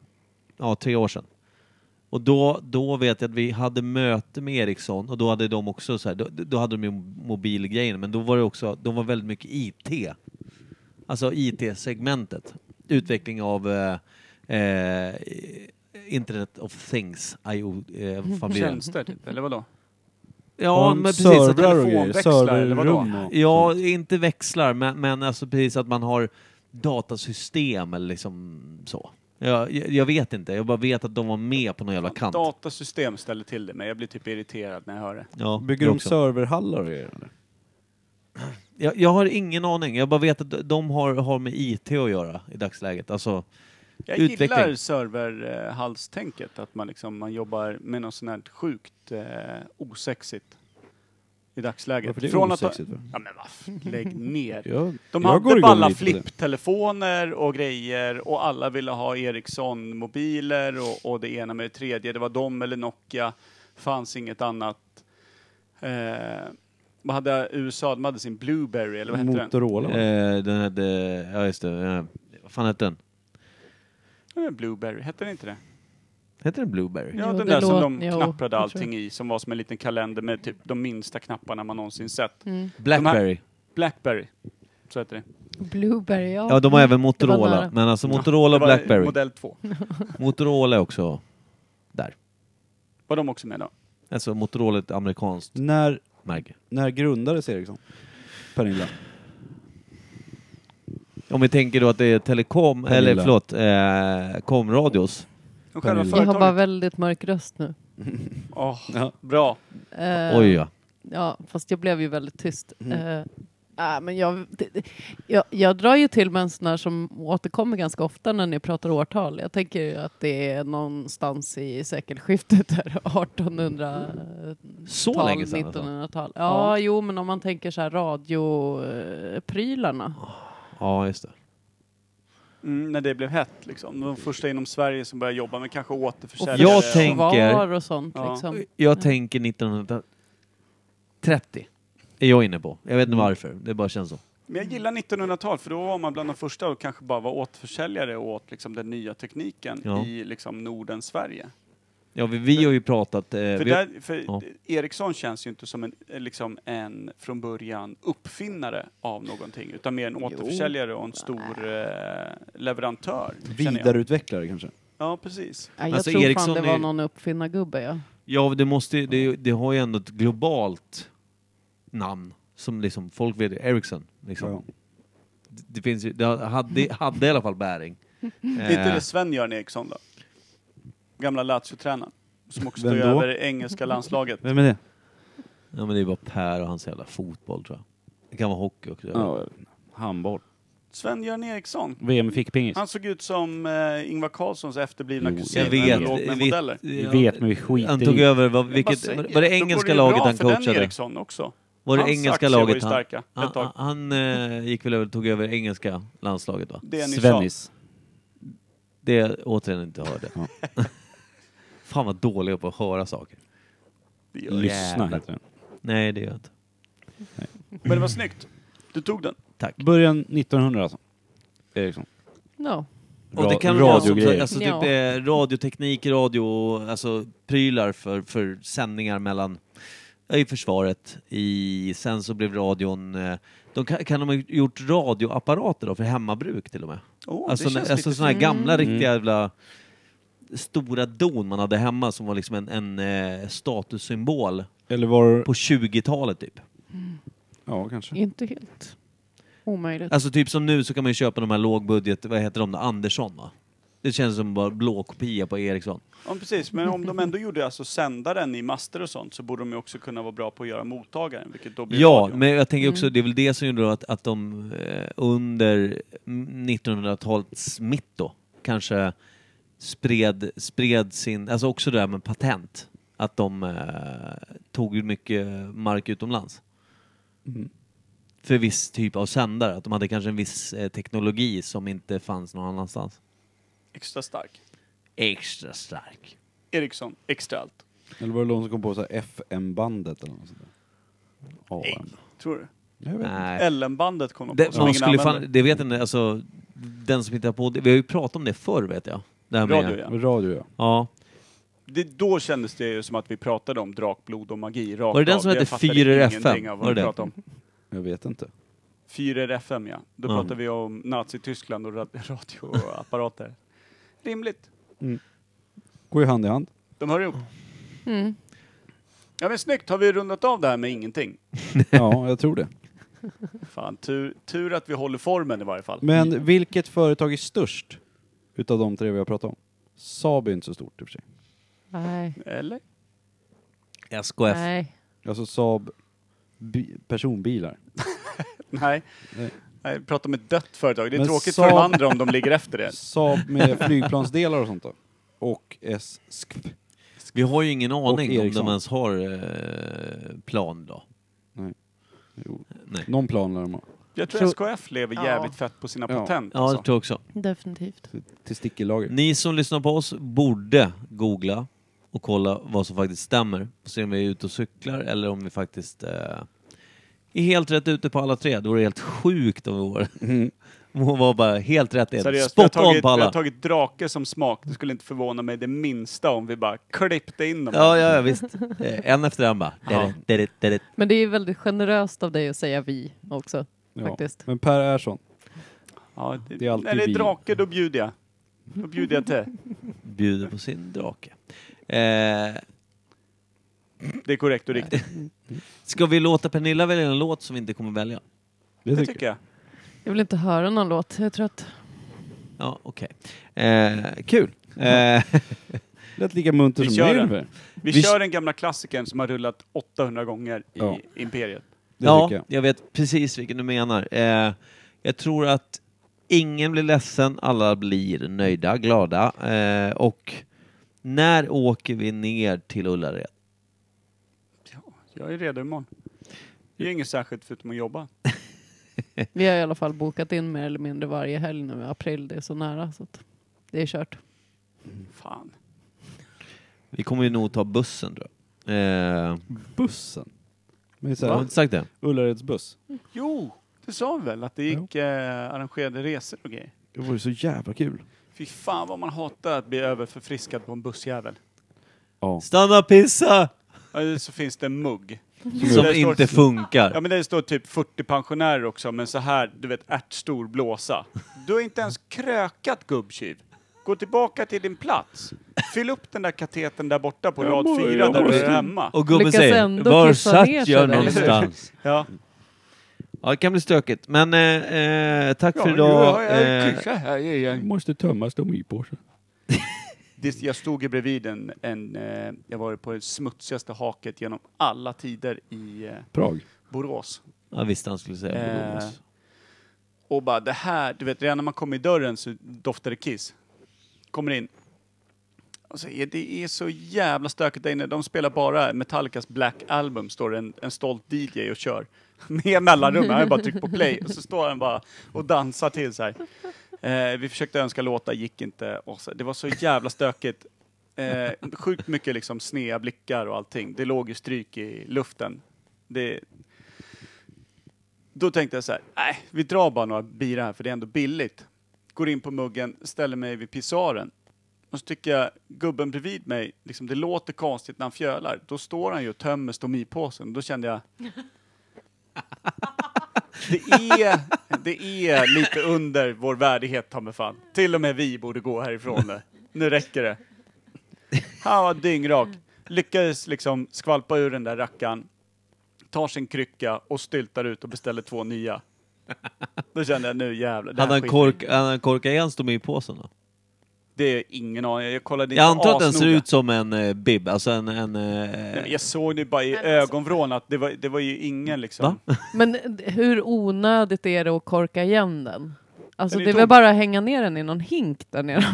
ja, tre år sedan. Och då, då vet jag att vi hade möte med Ericsson och då hade de också så här, då, då hade de ju mobilgrejen, men då var det också, de var väldigt mycket IT. Alltså IT-segmentet. Utveckling av eh, eh, Internet of Things, IO, eh, vad fan blir det?
Tjänster typ, eller vadå?
Ja, men precis. att-
servrar och grejer,
telefonväxlar, eller vadå?
serverrum och...
Ja, inte växlar, men, men alltså precis att man har datasystem eller liksom så. Jag, jag jag vet inte, jag bara vet att de var med på någon jävla kant.
Datasystem ställer till det men jag blir typ irriterad när jag hör det.
Ja,
Bygger
jag
de
också.
serverhallar och grejer? eller?
jag, jag har ingen aning, jag bara vet att de har, har med IT att göra i dagsläget. Alltså,
Jag
Utveckling.
gillar serverhalstänket, att man liksom man jobbar med något sånt här sjukt eh, osexigt i dagsläget.
Varför det är
Från att ha-
osexigt? va?
Ja men vaff, lägg ner.
Jag, jag
De
går
hade
igång
balla
lite på det.
flipptelefoner och grejer och alla ville ha Ericsson-mobiler och, och det ena med det tredje. Det var dem eller Nokia. Fanns inget annat. Eh, vad hade USA? De hade sin Blueberry eller vad hette den?
Motorola? va?
eh, den hette, ja just det, eh, vad fan hette den?
Ja, men Eh, Blueberry, hette den inte det?
Hette den Blueberry?
Ja,
Jo,
den
det
där som
låt-
de
jo, jag
knapprade
tror
allting i, som var som en liten kalender med typ de minsta knapparna man någonsin sett.
Mm.
Blackberry.
Blackberry, så heter det.
Blueberry, ja.
Ja, de har även
var
Motorola,
nära.
men alltså Motorola och
Det var
Blackberry.
Modell 2.
Motorola är också,
Var de också med då?
alltså Motorola är ett amerikanskt
När,
märke.
när grundades Ericsson? Pernilla?
Om vi tänker då att det är telekom,
Pernilla.
eller förlåt, eh, komradios.
De själva
Pernilla.
Jag har bara
företaget?
väldigt mörk röst nu.
Åh,
Ja.
Bra.
Eh,
Oj ja.
Ja, fast jag blev ju väldigt tyst.
Mm.
Eh, nej, men jag, det, det- jag, jag drar ju till med en sån här som återkommer ganska ofta när ni pratar årtal. Jag tänker ju att det är någonstans i sekelskiftet, där
alltså?
1800
Så
tal,
länge sedan alltså.
1900-tal. Ja, jo, men om man tänker så här radioprylarna.
Ja, just det.
Mm, när det blev hett liksom. De första inom Sverige som började jobba med kanske återförsäljare.
Jag
och-
tänk- tänker-
Var Alltså, och sånt
Ja.
liksom.
Jag tänker 1930. Är jag inne på. Jag vet
Mm.
inte varför, det bara känns så.
Men jag gillar 1900-tal för då var man bland de första och kanske bara var återförsäljare och åt liksom den nya tekniken
Ja.
i liksom Norden, Sverige.
Ja, vi, vi har ju pratat... Eh,
För,
vi,
där, för
ja.
Ericsson känns ju inte som en, eh, liksom en från början uppfinnare av någonting utan mer en återförsäljare och en stor eh, leverantör. känner jag.
Vidareutvecklare kanske?
Ja, precis.
Ja, jag
Alltså,
tror
Ericsson
fan
är
det var
ju-
någon uppfinnargubbe, ja.
ja, det, måste, ju- det, det har ju ändå ett globalt namn som liksom folk vet. Ericsson. Liksom.
Ja.
Det, det, finns ju, det hade, hade i alla fall bäring. Eh.
Det är inte det Sven-Göran Eriksson då? Gamla Lazio-tränaren. Som också
Vem
står
då?
över engelska landslaget.
Vem är det?
Ja, men det är bara Per och hans jävla fotboll tror jag. Det kan vara hockey också.
Ja, handboll.
Sven-Göran Eriksson.
VM i fickpingis.
Han såg ut som eh, Ingvar Carlssons efterblivna kusin.
Jag vet.
Han låg med modeller.
Vi
ja,
vet, men vi skiter
Han tog
i.
över, vad,
Jag bara
vilket,
säger,
var det
då går
engelska
ju
laget
bra
han
för den
coachade?
Eriksson också.
Var det
Hans
engelska
aktier var ju
laget han... Ah,
starka ett
Han,
tag.
han eh, gick väl över och tog över engelska landslaget va?
Det ni sa.
Svennis.
Det jag återigen inte hörde.
Ja.
Fan vad dålig jag är på att höra saker.
Det gör det.
Lyssna
Jävlar.
heter den.
Nej det gör jag inte.
Men det var snyggt. Du tog den.
Tack.
Början 1900 alltså. Ericsson.
No.
Och det
Ra-
kan väl vara som,
radiogrejer.
alltså, typ,
Ja.
eh, radioteknik, radio, alltså prylar för, för sändningar mellan ja, i försvaret, i, sen så blev radion... eh, De kan, kan de ha gjort radioapparater då, för hemmabruk till och med?
Oh,
Alltså, nä-
det känns
alltså
lite
såna här
fint.
Mm.
gamla riktiga jävla stora don man hade hemma som var liksom en, en eh, statussymbol
Eller var
på 20-talet typ.
Ja, kanske.
Inte helt omöjligt.
Alltså typ som nu så kan man ju köpa de här lågbudget, vad heter de, då? Andersson va? Det känns som bara blå kopia på Ericsson.
Ja, precis. Men om de ändå gjorde alltså sändaren i master och sånt så borde de ju också kunna vara bra på att göra mottagaren, vilket då blir
Ja,
radio.
men jag tänker också, det är väl det som gjorde då att, att de eh, under mm, 1900-talets mitt då kanske spred, spred sin, alltså också det där med patent. Att de eh, tog ju mycket mark utomlands. För viss typ av sändare, att de hade kanske en viss eh, teknologi som inte fanns någon annanstans.
Extra stark.
Extra stark.
Ericsson, extra allt.
Eller var det någon som kom på så här FM-bandet eller något sånt där? AM.
Tror du?
Jag vet.
Nej.
LM-bandet kom de på,
Det,
som
man
ingen
skulle
använder.
fan, det vet jag inte, alltså, den som hittar på det, vi har ju pratat om det förr vet jag. Det här med-
Radio, ja.
Radio ja.
ja.
Det, då kändes det ju som att vi pratade om drakblod och magi rakt
Var det den
av.
som
Jag
hette
fattade
Fyrer
ingenting
FM?
av
Var
vad
det
vi
det?
pratade om.
Jag vet inte.
Fyrer FM, ja. Då
Mm.
pratar vi om Nazityskland och rad- radioapparater. Rimligt.
Går ju hand i hand.
De hör ihop.
Mm.
Ja men snyggt, har vi rundat av det här med ingenting?
Ja, jag tror det.
Fan, tur, tur att vi håller formen i varje fall.
Men vilket företag är störst utav de tre vi har pratat om? Saab är inte så stort i och för sig.
Nej.
Eller?
SKF.
Nej.
Alltså Saab bi- personbilar.
Nej.
Nej.
Nej, prata om ett dött företag. Det är
Men
tråkigt
sa-
för de andra om de ligger efter det.
Saab med flygplansdelar och sånt då. Och SKF.
Vi har ju ingen aning om
Ericsson.
de ens har eh, plan då.
Jo.
Nej.
Någon plan lär de ha.
Jag tror
Tror-
SKF lever
Ja.
jävligt fett på sina
Ja.
patent.
Ja, det
alltså.
tror jag också.
Definitivt.
Testikellager.
Ni som lyssnar på oss borde googla och kolla vad som faktiskt stämmer. Och se om vi är ute och cyklar eller om vi faktiskt eh, är helt rätt ute på alla tre. Då är det helt sjukt om vi vore. Mm. var bara helt rätt. i ett.
Seriöst, vi har,
Spot on
tagit,
på
vi har
alla.
tagit drake som smak. Det skulle inte förvåna mig det minsta om vi bara klippte in dem.
Ja, ja, ja, visst. Eh, En efter en bara. Derit, derit, derit.
Men det är väldigt generöst av dig att säga vi också. Faktiskt.
Men Per Ersson.
Ja, det,
Det är alltid
när det
vi.
är drake, då bjuder jag. Då bjuder jag till.
Bjuder på sin drake. Eh,
Det är korrekt och riktigt.
ska vi låta Pernilla välja en låt som vi inte kommer välja?
Det
Det tycker jag.
Jag vill inte höra någon låt. Jag är trött.
Ja, okej. Eh, kul. Eh,
jag. Lät lika munter
Vi
som
kör
mig
den.
ungefär.
Vi,
Vi-
kör den gamla klassikern som har rullat 800 gånger i
Ja.
Imperiet.
Det
ja,
tycker jag.
vet precis vilken du menar. Eh, jag tror att ingen blir ledsen, alla blir nöjda, glada. Eh, och när åker vi ner till Ullared?
Jag är redo imorgon. Det är inget särskilt förutom att jobba.
Vi har i alla fall bokat in mer eller mindre varje helg nu i april. Det är så nära så att det är kört.
Fan.
Vi kommer ju nog ta bussen tror jag. Eh,
Bussen. Men så
har vi
här,
inte sagt det?
Ullareds buss.
Jo, det sa vi väl? Att det gick eh, arrangerade resor och grejer.
Det vore så jävla kul.
Fy fan vad man hatar att bli överförfriskad på en bussjävel.
Ja.
Stanna och pissa!
Eller så finns det en mugg.
Som
Där står-
inte funkar.
Ja men det står typ 40 pensionärer också, men så här, du vet, ärtstor blåsa. Du har inte ens krökat gubbtjuv. Gå tillbaka till din plats. Fyll upp den där katetern där borta på rad 4 där du är hemma.
Och gubben
Lyckas
säger,
ändå
var
kissa ner
satt
sig
jag
där, eller hur?"
någonstans?
Ja.
Ja, det kan bli stökigt. Men eh, eh, tack för idag. Eh,
Måste tömmas de i påsen.
Det, jag stod ju bredvid en, en eh, jag var på det smutsigaste haket genom alla tider i eh,
Prag.
Borås.
jag visste han skulle säga
Eh,
Borås.
Och bara det här, du vet redan när man kommer i dörren så doftar det kiss. Kommer in. Alltså, är- det är så jävla stökigt där inne. De spelar bara Metallicas Black Album, står det en, en stolt DJ och kör. Med mellanrum, han har bara tryckt på play och så står han bara och dansar till så här. Eh, vi försökte önska låtar, gick inte. Och så, det var så jävla stökigt. Eh, sjukt mycket liksom snea blickar och allting. Det låg ju stryk i luften. Det, då tänkte jag så här, nej, vi drar bara några bira här för det är ändå billigt. Går in på muggen, ställer mig vid pissoaren. Och så tycker jag, gubben bredvid mig, liksom, det låter konstigt när han fjölar. Då står han ju och tömmer stomipåsen. Då kände jag... Det är, det är lite under vår värdighet, ta mig fan. Till och med vi borde gå härifrån nu. Nu räcker det. Han var dyngrak. Lyckades liksom skvalpa ur den där rackaren. tar sin krycka och styltar ut och beställer två nya. Då kände jag nu jävlar. det här
Hade han,
skiter-
kork, hade han korkat igen Stomipåsen då?
Det är ingen aning. Jag kollade inte
Jag antar att den ser
asnoga.
ut som en eh, bib, alltså en... en eh,
Nej, men Jag såg det bara i
Men alltså-
ögonvrån att det var, det var ju ingen liksom.
Men hur onödigt är det att korka igen den? Alltså
Den är
det är
tom.
väl bara att hänga ner den i någon hink där nere.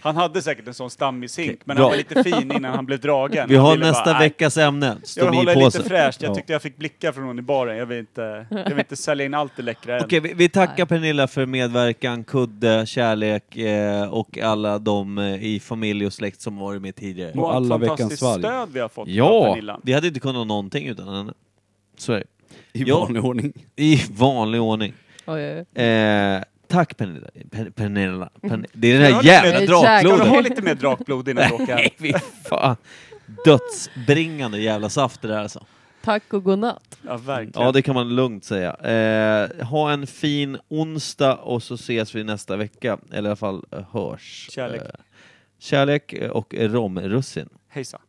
Han hade säkert en sån stammishink,
Okej,
men
bra.
han var lite fin innan han blev dragen.
vi
Han
har
ville
nästa
bara, "Nej,
veckas ämne,
Jag håller lite
Stomipåsen.
fräscht. Jag tyckte jag fick blickar från hon i baren. Jag vill inte, jag vill inte sälja in allt det läckra än.
Okej, vi, vi tackar
Nej.
Pernilla för medverkan, kudde, kärlek eh, och alla de eh, i familj och släkt som varit med tidigare.
Och alla
ett fantastiskt
veckans svalg.
stöd vi har fått
Ja.
av Pernilla.
Vi hade inte kunnat någonting utan henne. Så är det.
I
Ja.
vanlig ordning.
I vanlig ordning.
Oj, oj, oj.
Eh, tack Pernilla. Per, Pernilla. Pern, det är den
Kan
här
du ha lite
jävla
mer-
Kan du
drakblodet.
ha lite mer drakblod innan du åker hem?
Nej, fy fan. Dödsbringande jävla saft det där alltså.
Tack och godnatt.
Ja, verkligen.
Ja, det kan man lugnt säga. Eh, ha en fin onsdag och så ses vi nästa vecka. Eller i alla fall eh, hörs.
Kärlek.
Eh, kärlek och romrussin.
Hejsan.
Oh, Oh, Oh, Oh,